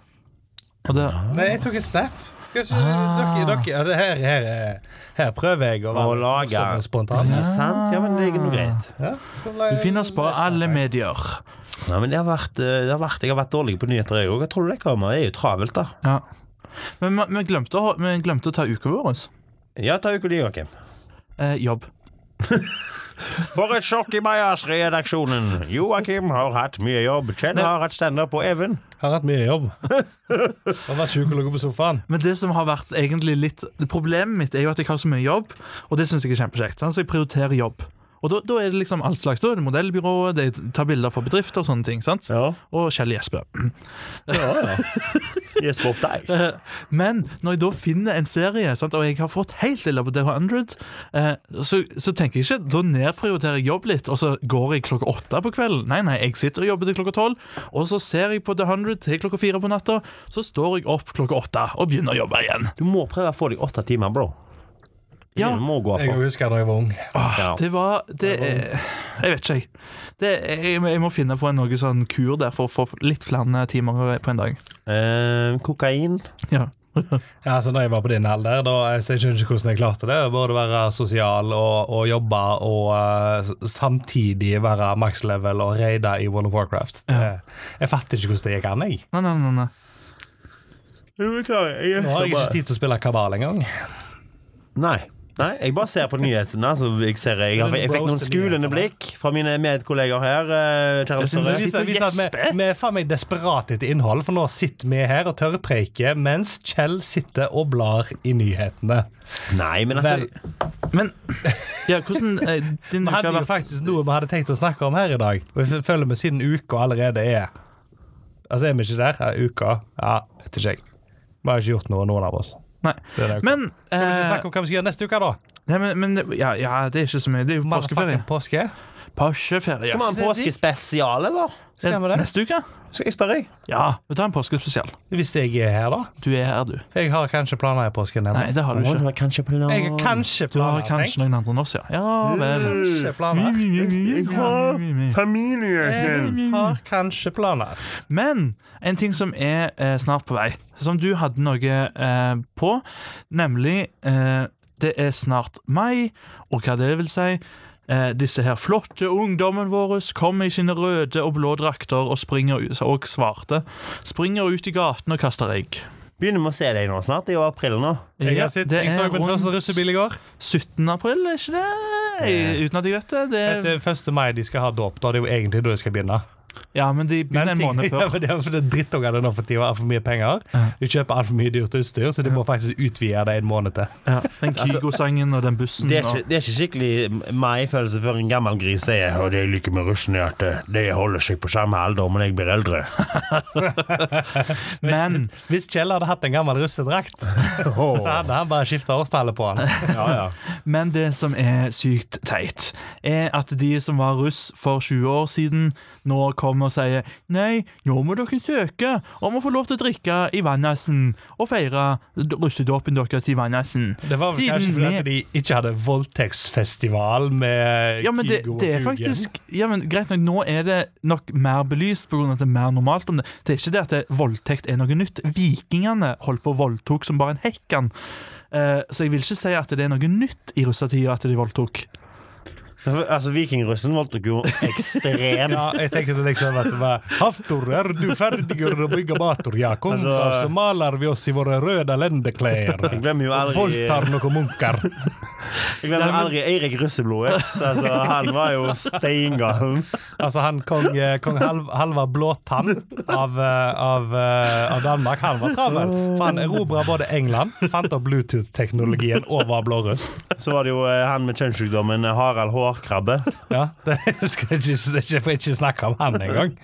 [SPEAKER 1] Og det,
[SPEAKER 2] Nei, jeg tok en snap. Kanskje
[SPEAKER 1] Ah.
[SPEAKER 2] dere, dere, ja, det her, her, er- her prøver jeg å
[SPEAKER 3] Å lage.
[SPEAKER 2] morsom og spontan.
[SPEAKER 3] Ja. Sant? Ja, men det er noe greit.
[SPEAKER 2] Ja, så la
[SPEAKER 1] du
[SPEAKER 2] jeg-
[SPEAKER 1] finner oss på alle medier.
[SPEAKER 3] Ja, men det har vært, eh, det har vært, jeg har vært dårlig på nyheter, jeg òg. Hva tror du det kommer? Det er jo travelt, da.
[SPEAKER 1] Ja. Men vi- vi glemte, å ha- vi glemte å ta uka vår. altså.
[SPEAKER 3] Ja, ta uka di, Joakim.
[SPEAKER 1] Eh, jobb.
[SPEAKER 3] For et sjokk i Majas-redaksjonen. Joakim har hatt mye jobb. Chen har hatt standup på Even.
[SPEAKER 2] Har hatt mye jobb. Har vært sjuk og ligget på sofaen.
[SPEAKER 1] Men det som har vært egentlig litt Problemet mitt er jo at jeg har så mye jobb, og det syns jeg er kjempekjekt. sant? Så jeg prioriterer jobb. Og da, da er det liksom alt slags. Da er det modellbyrået, det er ta bilder for bedrifter og sånne ting. sant?
[SPEAKER 3] Ja.
[SPEAKER 1] Og Kjell Jesper.
[SPEAKER 3] ja, ja. Jesper of deg.
[SPEAKER 1] Eh, Men når jeg da finner en serie, sant, og jeg har fått helt ille på DH100, eh, så, så tenker jeg ikke Da nedprioriterer jeg jobb litt, og så går jeg klokka åtte på kvelden. Nei, nei, jeg sitter og jobber til klokka tolv, og så ser jeg på DH100 til klokka fire på natta. Så står jeg opp klokka åtte og begynner å jobbe igjen.
[SPEAKER 3] Du må prøve å få deg åtte timer, bro. Det
[SPEAKER 1] Ja. Ah,
[SPEAKER 3] du må gå
[SPEAKER 2] Jeg
[SPEAKER 3] for.
[SPEAKER 2] husker da jeg var ung.
[SPEAKER 3] Ja.
[SPEAKER 1] Det var det, eh, Jeg vet ikke, jeg. Det, jeg, jeg må finne på en noe sånn kur der for å få litt flere timer på en dag.
[SPEAKER 3] Eh, kokain.
[SPEAKER 1] Ja.
[SPEAKER 2] Ja, altså, da jeg var på din alder, da jeg jeg skjønner ikke hvordan jeg klarte det. Både være sosial og, og jobbe og eh, s- samtidig være max level og raide i World of Warcraft. Det- Jeg fatter ikke hvordan det gikk an, jeg.
[SPEAKER 1] Nei, nei, nei. nei.
[SPEAKER 2] Nå har jeg ikke tid til å spille kabal engang.
[SPEAKER 3] Nei. Nei, jeg bare ser på nyhetene. Altså, jeg, ser, jeg, har- jeg fikk noen skulende blikk fra mine medkolleger her. eh, Kjære
[SPEAKER 1] Jeg synes
[SPEAKER 3] lyttere.
[SPEAKER 1] det
[SPEAKER 2] Viser,
[SPEAKER 1] Sitter og
[SPEAKER 2] viser at vi,
[SPEAKER 1] gjesper.
[SPEAKER 2] vi er faen meg desperate etter innhold, for nå sitter vi her og tørrpreiker mens Kjell sitter og blar i nyhetene.
[SPEAKER 3] Nei, men altså
[SPEAKER 1] Men ja, hvordan eh, din
[SPEAKER 2] Vi
[SPEAKER 1] uke
[SPEAKER 2] hadde
[SPEAKER 1] har
[SPEAKER 2] jo
[SPEAKER 1] vært
[SPEAKER 2] faktisk noe vi hadde tenkt å snakke om her i dag. Og jeg føler vi siden uka allerede er Altså, er vi ikke der? Ja, uka? Ja, vet ikke jeg. Vi har ikke gjort noe, noen av oss.
[SPEAKER 1] Nei.
[SPEAKER 2] Det er det.
[SPEAKER 1] Men,
[SPEAKER 2] Skal vi ikke
[SPEAKER 1] eh,
[SPEAKER 2] snakke om hva vi skal gjøre neste uke, da?
[SPEAKER 1] nei, men, men ja, ja, det er ikke så mye. Det er jo påskeferie.
[SPEAKER 2] Motherfucking Påske?
[SPEAKER 1] Påskeferie.
[SPEAKER 3] Skal vi ha en påskespesial, eller?
[SPEAKER 2] Skal vi
[SPEAKER 1] Eh,
[SPEAKER 2] det?
[SPEAKER 1] Neste uke?
[SPEAKER 3] Skal jeg spørre?
[SPEAKER 1] Ja, vi tar en påskespesial.
[SPEAKER 2] Hvis jeg er her, da?
[SPEAKER 1] Du er her, du.
[SPEAKER 2] Jeg har kanskje planer i påsken.
[SPEAKER 1] Nei, det har du ikke.
[SPEAKER 3] har kanskje planer
[SPEAKER 2] Jeg har kanskje
[SPEAKER 1] Du har
[SPEAKER 2] planer. tenk.
[SPEAKER 1] kanskje Mm, noen andre enn oss, ja. Ja vel.
[SPEAKER 2] Kanskje planer.
[SPEAKER 1] mm.
[SPEAKER 3] Eh,
[SPEAKER 2] Jeg har kanskje planer.
[SPEAKER 1] Men en ting som er eh, snart på vei, som du hadde noe eh, på, nemlig eh, Det er snart mai, og hva det vil si. Eh, disse her flotte ungdommen våre kommer i sine røde og blå drakter og springer ut, og svarte. Springer ut i gaten og kaster egg.
[SPEAKER 3] Begynner med å se deg nå snart. Det er jo april nå.
[SPEAKER 2] Jeg,
[SPEAKER 1] Ja,
[SPEAKER 2] har sett,
[SPEAKER 1] det
[SPEAKER 2] jeg så
[SPEAKER 1] er
[SPEAKER 2] min første
[SPEAKER 1] rundt
[SPEAKER 2] russebil i går.
[SPEAKER 1] 17. april, er ikke det? Jeg- Uten at jeg vet det. det er,
[SPEAKER 2] Det er 1. mai de skal ha dåp. Da er det jo egentlig da de skal begynne.
[SPEAKER 1] ja, men de
[SPEAKER 2] Men
[SPEAKER 1] begynner en
[SPEAKER 2] ting-
[SPEAKER 1] måned
[SPEAKER 2] Ja,
[SPEAKER 1] før.
[SPEAKER 2] for det er for det er drittungene nå for tida har for mye penger. De kjøper altfor mye dyrt utstyr, så de må faktisk utvide det en måned til.
[SPEAKER 1] Ja, den Kygo-sangen og den bussen.
[SPEAKER 3] Det er
[SPEAKER 1] og-
[SPEAKER 3] ikke, det er ikke skikkelig meg-følelse før en gammel gris sier Og det jeg liker med russen er at de holder seg på samme alder, men jeg blir eldre.
[SPEAKER 1] men
[SPEAKER 2] Hvis Kjell hadde hatt en gammel russedrakt, så hadde han bare skifta årstallet på han.
[SPEAKER 3] Ja, ja.
[SPEAKER 1] Men det som er sykt teit, er at de som var russ for 20 år siden, nå kommer og sier Nei, nå må dere søke om å få lov til å drikke i Vannassen og feire d- russedåpen deres i Vannassen.
[SPEAKER 2] Det var vel kanskje
[SPEAKER 1] Siden
[SPEAKER 2] fordi
[SPEAKER 1] vi-
[SPEAKER 2] at de ikke hadde voldtektsfestival med
[SPEAKER 1] Ja, men det,
[SPEAKER 2] Kygo og
[SPEAKER 1] det er
[SPEAKER 2] Kugen.
[SPEAKER 1] faktisk ja, men Greit nok, nå er det nok mer belyst pga. at det er mer normalt om det. Det er ikke det at det, voldtekt er noe nytt. Vikingene holdt på og voldtok som bare en hekkan. Eh, så jeg vil ikke si at det er noe nytt i russetida at de voldtok.
[SPEAKER 3] Altså, Vikingrussen voldtok jo ekstremt.
[SPEAKER 2] Ja, jeg tenkte liksom at det var Haftor, er du ferdig å bygge mater? Ja, kom,
[SPEAKER 3] Altså-
[SPEAKER 2] da, så maler vi oss i våre røde lendeklær.
[SPEAKER 3] Jeg glemmer jo aldri-
[SPEAKER 2] Voldtar noen munker.
[SPEAKER 3] Jeg glemmer aldri Eirik Russeblodet. Altså, han var jo steingal.
[SPEAKER 2] Altså, han kong, eh, kong Hal Halvard Blåtann av, eh, av, eh, av Danmark, han var travel. For han erobra både England, fant opp Bluetooth-teknologien og var blåruss.
[SPEAKER 3] Så var det jo eh, han med kjønnssykdommen eh, Harald Hårkrabbe.
[SPEAKER 2] Ja, det skal jeg ikke, det skal jeg ikke snakke om han engang.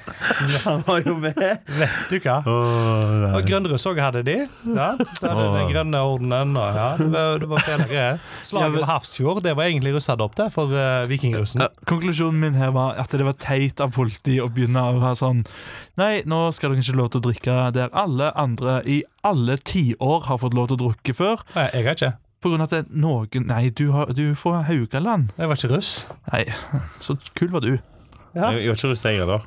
[SPEAKER 3] Han var jo med.
[SPEAKER 2] Vet du hva?
[SPEAKER 3] Åh,
[SPEAKER 2] Og Grønruss òg hadde de. Ja, så hadde de den grønne ordenen og ja, det var, det var fine greier. Slaget ved Hafrsfjord, det var egentlig russadopp, det, for eh, vikingrussen.
[SPEAKER 1] Ja, konklusjonen min her var at det var teit av politiet å begynne å være sånn Nei, nå skal dere ikke lov til å drikke der alle andre i alle tiår har fått lov til å drukke før.
[SPEAKER 2] Nei, jeg har ikke.
[SPEAKER 1] På grunn av at det er noen Nei, du, har, du får Haugaland.
[SPEAKER 2] Jeg var ikke russ.
[SPEAKER 1] Nei, så kul var du.
[SPEAKER 2] Ja.
[SPEAKER 3] Jeg jeg var ikke russ, jeg, da.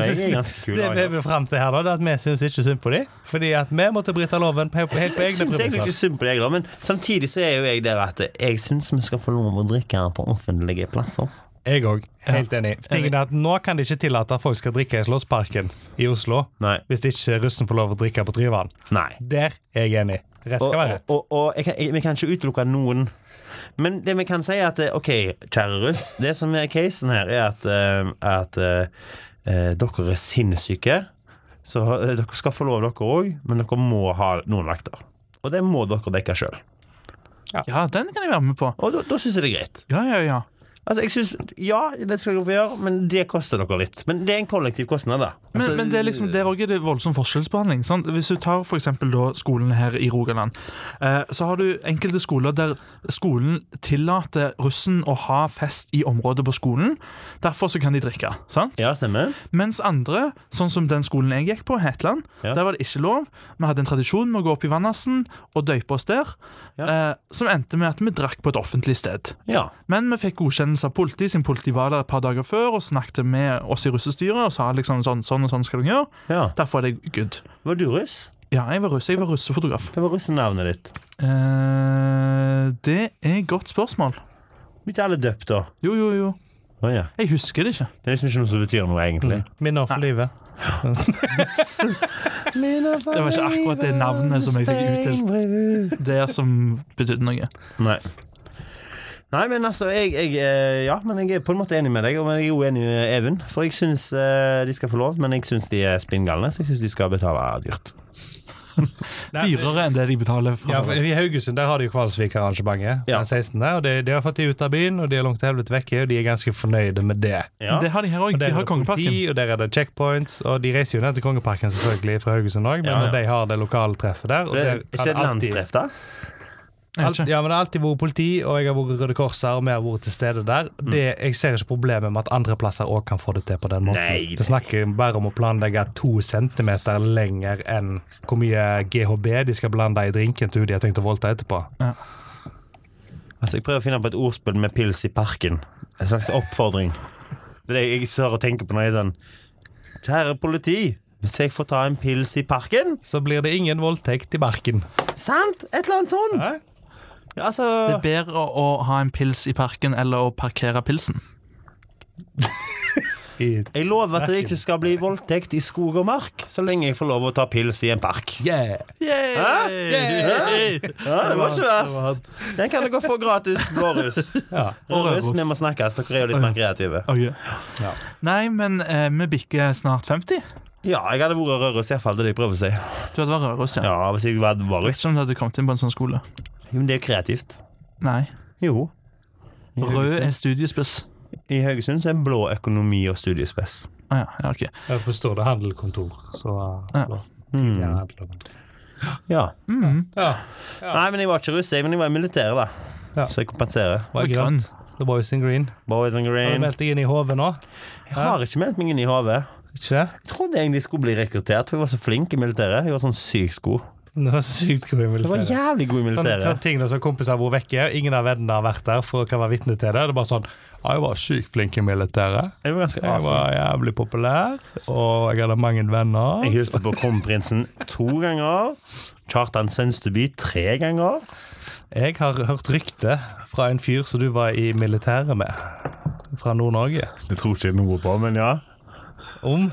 [SPEAKER 3] Nei, Jeg er ganske kul.
[SPEAKER 2] Det vi
[SPEAKER 3] jeg, da.
[SPEAKER 2] vil fram til her, da, det er at vi syns ikke synd på dem. Fordi at vi måtte bryte loven på, helt på
[SPEAKER 3] Jeg altså.
[SPEAKER 2] egne
[SPEAKER 3] syns egentlig
[SPEAKER 2] premisser.
[SPEAKER 3] ikke synd på deg, da, men samtidig så er jo jeg der at jeg syns vi skal få lov å drikke her på offentlige plasser.
[SPEAKER 2] Jeg òg. Helt enig. Tingen er at Nå kan de ikke tillate at folk skal drikke i Slottsparken i Oslo.
[SPEAKER 3] Nei.
[SPEAKER 2] Hvis ikke russen får lov å drikke på Tryvann.
[SPEAKER 3] Nei.
[SPEAKER 2] Der er jeg enig. Rett
[SPEAKER 3] Og,
[SPEAKER 2] skal være
[SPEAKER 3] og,
[SPEAKER 2] rett.
[SPEAKER 3] og, jeg kan, jeg, vi kan ikke utelukke noen. Men det vi kan si, er at eh, OK, kjære russ. Det som er casen her, er at, eh, at eh, eh, dere er sinnssyke. Så eh, dere skal få lov, dere òg, men dere må ha noen vakter. Og det må dere dekke sjøl.
[SPEAKER 1] Ja, den kan jeg være med på.
[SPEAKER 3] Og da, da syns jeg det er greit.
[SPEAKER 1] Ja, ja, ja.
[SPEAKER 3] Altså, jeg synes, Ja, det skal dere få gjøre, men det koster dere litt. Men det er en kollektiv kostnad, da.
[SPEAKER 1] Men,
[SPEAKER 3] Altså,
[SPEAKER 1] men det er liksom, der også er det voldsom forskjellsbehandling. Sant? Hvis du tar for eksempel da skolen her i Rogaland, eh, så har du enkelte skoler der skolen tillater russen å ha fest i området på skolen. Derfor så kan de drikke. sant?
[SPEAKER 3] Ja, stemmer.
[SPEAKER 1] Mens andre, sånn som den skolen jeg gikk på, Hetland,
[SPEAKER 3] Ja.
[SPEAKER 1] der var det ikke lov. Vi hadde en tradisjon med å gå opp i Vannassen og døype oss der, eh, som endte med at vi drakk på et offentlig sted.
[SPEAKER 3] Ja.
[SPEAKER 1] Men vi fikk godkjennelse av politi, siden politi var der et par dager før og snakket med oss i russestyret og sa liksom sånn, sånn og sånn skal du gjøre.
[SPEAKER 3] ja.
[SPEAKER 1] Derfor er det good.
[SPEAKER 3] Var du russ?
[SPEAKER 1] Ja, jeg var russ. Jeg var russefotograf.
[SPEAKER 3] Hva var russenavnet ditt?
[SPEAKER 1] Eh, det er et godt spørsmål.
[SPEAKER 3] Blir ikke alle døpt, da?
[SPEAKER 1] Jo, jo, jo.
[SPEAKER 3] Å, ja.
[SPEAKER 1] Jeg husker det ikke.
[SPEAKER 3] Det er liksom ikke noe som betyr noe, egentlig.
[SPEAKER 2] Minner for livet.
[SPEAKER 1] Det var ikke akkurat det navnet som jeg fikk utdelt. Det som betydde noe.
[SPEAKER 3] Nei. Nei, men altså, jeg, jeg eh, Ja, men jeg er på en måte enig med deg, og men jeg er jo enig med Even. For jeg syns de skal få lov, men jeg syns de er spinngalne, så jeg syns de skal betale dyrt.
[SPEAKER 2] Nei,
[SPEAKER 1] Dyrere enn det de betaler
[SPEAKER 2] Ja,
[SPEAKER 1] for.
[SPEAKER 2] for I Haugesund der har de jo Kvalsvik-arrangementet
[SPEAKER 3] Ja.
[SPEAKER 2] den 16. Og de, de har fått de ut av byen, og de er langt til helvete vekke, og de er ganske fornøyde med det.
[SPEAKER 3] Ja.
[SPEAKER 1] Det har de her òg.
[SPEAKER 2] Og der
[SPEAKER 1] De
[SPEAKER 2] er
[SPEAKER 1] har
[SPEAKER 2] det politi,
[SPEAKER 1] Kongeparken.
[SPEAKER 2] og der er det checkpoints, og de reiser jo ned til Kongeparken selvfølgelig fra Haugesund òg, men
[SPEAKER 3] Ja, ja.
[SPEAKER 2] de har det lokale treffet der. Og
[SPEAKER 3] Det
[SPEAKER 2] der
[SPEAKER 3] er ikke et
[SPEAKER 2] har det alltid-
[SPEAKER 3] landstreff, da?
[SPEAKER 1] Jeg vet ikke.
[SPEAKER 2] Alt, ja, men Det har alltid vært politi, og jeg har vært Røde Kors her, og vi har vært til stede der.
[SPEAKER 3] Mm.
[SPEAKER 2] Det, jeg ser ikke problemet med at andre plasser òg kan få det til på den måten.
[SPEAKER 3] Nei, nei.
[SPEAKER 2] Det snakker bare om å planlegge to centimeter lenger enn hvor mye GHB de skal blande i drinken til hun de har tenkt å voldta etterpå.
[SPEAKER 3] Altså, jeg prøver å finne på et ordspill med pils i parken. En slags oppfordring. Det er det jeg står og tenker på når jeg er sånn Kjære politi, hvis jeg får ta en pils i parken?
[SPEAKER 2] Så blir det ingen voldtekt i barken.
[SPEAKER 3] Sant? Et eller annet sånt.
[SPEAKER 2] Hæ?
[SPEAKER 3] Altså
[SPEAKER 1] Det er bedre å ha en pils i parken eller å parkere pilsen.
[SPEAKER 2] I
[SPEAKER 3] Jeg lover at det ikke skal bli voldtekt i skog og mark så lenge jeg får lov å ta pils i en park.
[SPEAKER 2] Yeah.
[SPEAKER 1] Hæ? Yay!
[SPEAKER 3] Ja, det var ikke verst. Den kan dere få gratis, blåruss.
[SPEAKER 2] Ja.
[SPEAKER 3] Og russ, vi må snakkes. Dere er jo litt mer kreative.
[SPEAKER 1] Ok.
[SPEAKER 2] Ja.
[SPEAKER 1] Nei, men eh, vi bikker snart 50.
[SPEAKER 3] Ja, jeg hadde vært rødruss, iallfall. Det er det jeg prøver å si.
[SPEAKER 1] Du hadde vært rødruss, ja.
[SPEAKER 3] Ja, hvis jeg var var
[SPEAKER 1] Jeg vet
[SPEAKER 3] russ.
[SPEAKER 1] ikke om du hadde kommet inn på en sånn skole.
[SPEAKER 3] Jo, Men det er jo kreativt.
[SPEAKER 1] Nei.
[SPEAKER 3] Jo.
[SPEAKER 1] Rød er studiespiss.
[SPEAKER 3] I Haugesund så er blå økonomi og studiespes.
[SPEAKER 1] Ah, ja, ja, ok.
[SPEAKER 2] Jeg forstår det handelkontor, så
[SPEAKER 1] Ja.
[SPEAKER 3] Hmm.
[SPEAKER 2] tidligere handelkontor.
[SPEAKER 3] Ja.
[SPEAKER 2] Ja.
[SPEAKER 3] Nei, men jeg var ikke russ, jeg, men jeg var i militæret, da.
[SPEAKER 2] Ja.
[SPEAKER 3] Så jeg kompenserer.
[SPEAKER 2] Var
[SPEAKER 1] Og
[SPEAKER 2] grønn.
[SPEAKER 1] grønn.
[SPEAKER 2] The Boys in Green.
[SPEAKER 3] Boys and
[SPEAKER 2] Har du
[SPEAKER 3] green.
[SPEAKER 2] meldt deg inn i HV nå?
[SPEAKER 3] Jeg har ikke meldt meg inn i HV.
[SPEAKER 2] Ikke det?
[SPEAKER 3] Jeg trodde egentlig jeg skulle bli rekruttert, for jeg var så flink i militæret. Jeg var sånn sykt god.
[SPEAKER 2] Den var sykt god i
[SPEAKER 3] Det var
[SPEAKER 2] militæret.
[SPEAKER 3] jævlig god i
[SPEAKER 2] Sånne,
[SPEAKER 3] militæret.
[SPEAKER 2] Sånn- sånne ting da, som kompiser har vært vekke, ingen av vennene har vært der for å kan være vitne til det. Det er bare sånn Ja, jeg var sykt flink i militæret.
[SPEAKER 3] Jeg var ganske
[SPEAKER 2] Jeg
[SPEAKER 3] awesome.
[SPEAKER 2] var jævlig populær, og jeg hadde mange venner.
[SPEAKER 3] Jeg hilste på kronprinsen to ganger. Kjartan Sønsteby tre ganger.
[SPEAKER 2] Jeg har hørt rykte fra en fyr som du var i militæret med, fra Nord-Norge,
[SPEAKER 3] Det tror ikke jeg noe på, men ja.
[SPEAKER 2] om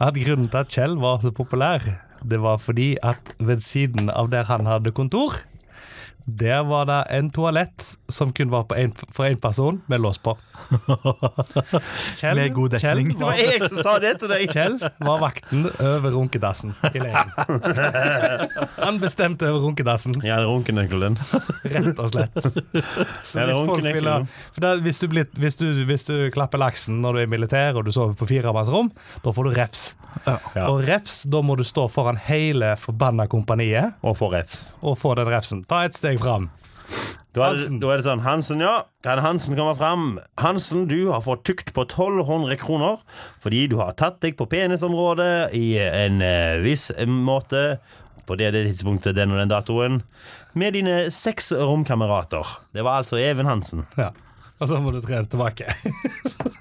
[SPEAKER 2] at grunnen til at Kjell var så populær, det var fordi at ved siden av der han hadde kontor, der var det en toalett som kun var på en, for én person, med lås på. Kjell,
[SPEAKER 1] Med god dekning.
[SPEAKER 2] Kjell var,
[SPEAKER 3] jeg som sa det til deg!
[SPEAKER 2] Kjell var vakten over runkedassen i leiren. Han bestemte over runkedassen.
[SPEAKER 3] Ja, det er runkenøkkelen.
[SPEAKER 2] Rett og slett. Så
[SPEAKER 3] Ja, det er
[SPEAKER 2] hvis, folk
[SPEAKER 3] ordentlig
[SPEAKER 2] vil ha,
[SPEAKER 3] ekkelt.
[SPEAKER 2] for da, hvis, du blir, hvis, du, hvis du klapper laksen når du er i militær og du sover på firemannsrom, da får du refs.
[SPEAKER 3] Ja.
[SPEAKER 2] Og refs, da må du stå foran hele forbanna kompaniet
[SPEAKER 3] Og får refs.
[SPEAKER 2] og få den refsen. Ta et steg fram.
[SPEAKER 3] Da er, det,
[SPEAKER 2] Hansen.
[SPEAKER 3] da er det sånn Hansen, ja. Kan Hansen komme fram? Hansen, du har fått tukt på 1200 kroner fordi du har tatt deg på penisområdet i en eh, viss måte på det, og det tidspunktet, den og den datoen, med dine seks romkamerater. Det var altså Even Hansen.
[SPEAKER 2] Ja. Og så må du trene tilbake.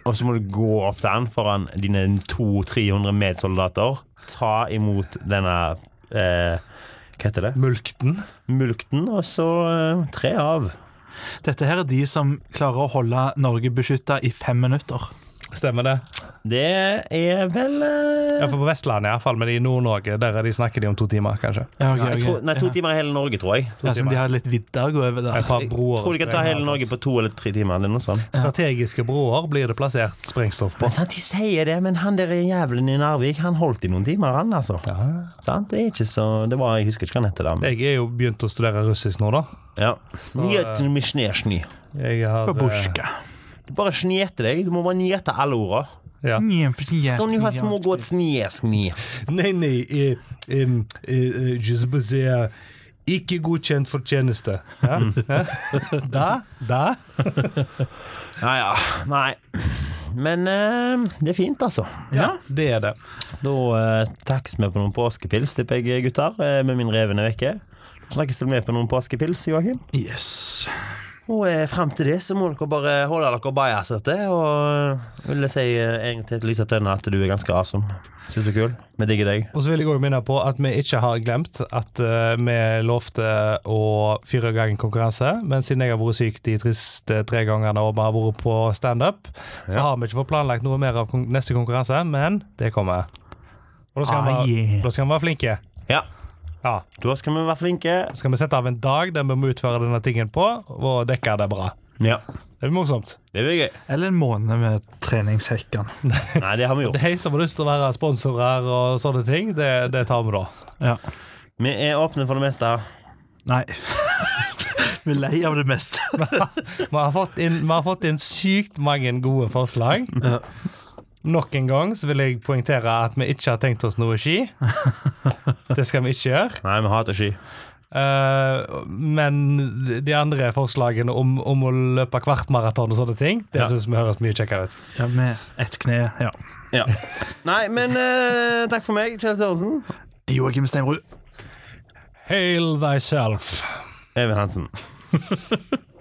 [SPEAKER 3] Og så må du gå opp til han foran dine 200-300 medsoldater. Ta imot denne eh, Hva heter det?
[SPEAKER 2] Mulkten.
[SPEAKER 3] Mulkten, og så eh, tre av.
[SPEAKER 1] Dette her er de som klarer å holde Norge beskytta i fem minutter.
[SPEAKER 2] Stemmer det?
[SPEAKER 3] Det er vel eh,
[SPEAKER 2] Ja, for på Vestlandet, iallfall, men i Nord-Norge, der er de snakker de om to timer, kanskje.
[SPEAKER 1] Ja, ok,
[SPEAKER 3] ja, jeg
[SPEAKER 1] ok.
[SPEAKER 3] tror, Nei, to
[SPEAKER 1] Ja.
[SPEAKER 3] timer i hele Norge, tror jeg.
[SPEAKER 1] Ja, sånn, de har litt vidde å gå over der.
[SPEAKER 2] Et par
[SPEAKER 3] Jeg
[SPEAKER 2] broer. altså.
[SPEAKER 3] tror de kan ta hele Norge på to eller tre timer. Eller noe sånt.
[SPEAKER 2] Strategiske broer blir det plassert sprengstoff på.
[SPEAKER 3] Men sant, De sier det, men han der jævelen i Narvik, han holdt i noen timer, han, altså. Sant? Det er ikke så Det var, Jeg husker ikke hva han heter, da. men-
[SPEAKER 2] Jeg er jo begynt å studere russisk nå, da.
[SPEAKER 3] Ja. Njet- misjnesjny.
[SPEAKER 2] Jeg har, eh,
[SPEAKER 1] Babushka.
[SPEAKER 3] Du Bare snjete deg. Du må bare njete alle orda.
[SPEAKER 2] ja.
[SPEAKER 1] Mm.
[SPEAKER 3] Skal du ha smågodsnjesni?
[SPEAKER 2] Nei, nei eh, em, eh, eh, just bare si, eh, Ikke godkjent for tjeneste. Ja? Ja? Da? Da?
[SPEAKER 3] Ja ja, nei. Men eh, det er fint, altså.
[SPEAKER 1] Ja.
[SPEAKER 2] Det er det.
[SPEAKER 3] Da eh, takkes vi på noen påskepils, tipper jeg, gutter. eh, Med min revende vekke. Snakkes vel med på noen påskepils, Joakim?
[SPEAKER 1] Yes.
[SPEAKER 3] Og eh, frem til det så må dere bare holde dere bajasete. Og eh, vil jeg si eh, en gang til til Lisa Tønne at du er ganske awesome. Syns du er kul? Vi digger deg.
[SPEAKER 2] Og så vil jeg også minne på at vi ikke har glemt at eh, vi lovte å fyre i gang en konkurranse, men siden jeg har vært syk de triste tre gangene og vi har vært på standup, så har vi ikke fått planlagt noe mer av kon neste konkurranse, men det kommer. Og da skal
[SPEAKER 1] Ah,
[SPEAKER 2] vi
[SPEAKER 1] yeah.
[SPEAKER 2] være- da skal vi være flinke.
[SPEAKER 3] Ja,
[SPEAKER 2] Ja.
[SPEAKER 3] da skal vi være flinke.
[SPEAKER 2] Så skal vi sette av en dag der vi må utføre denne tingen på, og dekke det bra.
[SPEAKER 3] Ja,
[SPEAKER 2] Det blir morsomt.
[SPEAKER 3] det blir gøy.
[SPEAKER 1] Eller en måned med treningshekken.
[SPEAKER 3] Nei, det har vi gjort.
[SPEAKER 2] De som har lyst til å være sponsorer og sånne ting, det, det tar vi da.
[SPEAKER 1] Ja.
[SPEAKER 3] Vi er åpne for det meste.
[SPEAKER 1] Nei. Vi er lei av det meste.
[SPEAKER 2] Vi har fått inn, vi har fått inn sykt mange gode forslag. Nok en gang så vil jeg poengtere at vi ikke har tenkt oss noe ski. Det skal vi ikke gjøre.
[SPEAKER 3] Nei, vi hater ski.
[SPEAKER 2] Eh, men de andre forslagene om, om å løpe kvartmaraton og sånne ting, det
[SPEAKER 3] Ja.
[SPEAKER 2] synes vi høres mye kjekkere ut.
[SPEAKER 1] Ja, med ett kne, ja.
[SPEAKER 3] Ja. Nei, men eh, takk for meg, Kjell Sørensen.
[SPEAKER 1] Joakim Steinrud.
[SPEAKER 2] Hail thyself.
[SPEAKER 3] Even Hansen.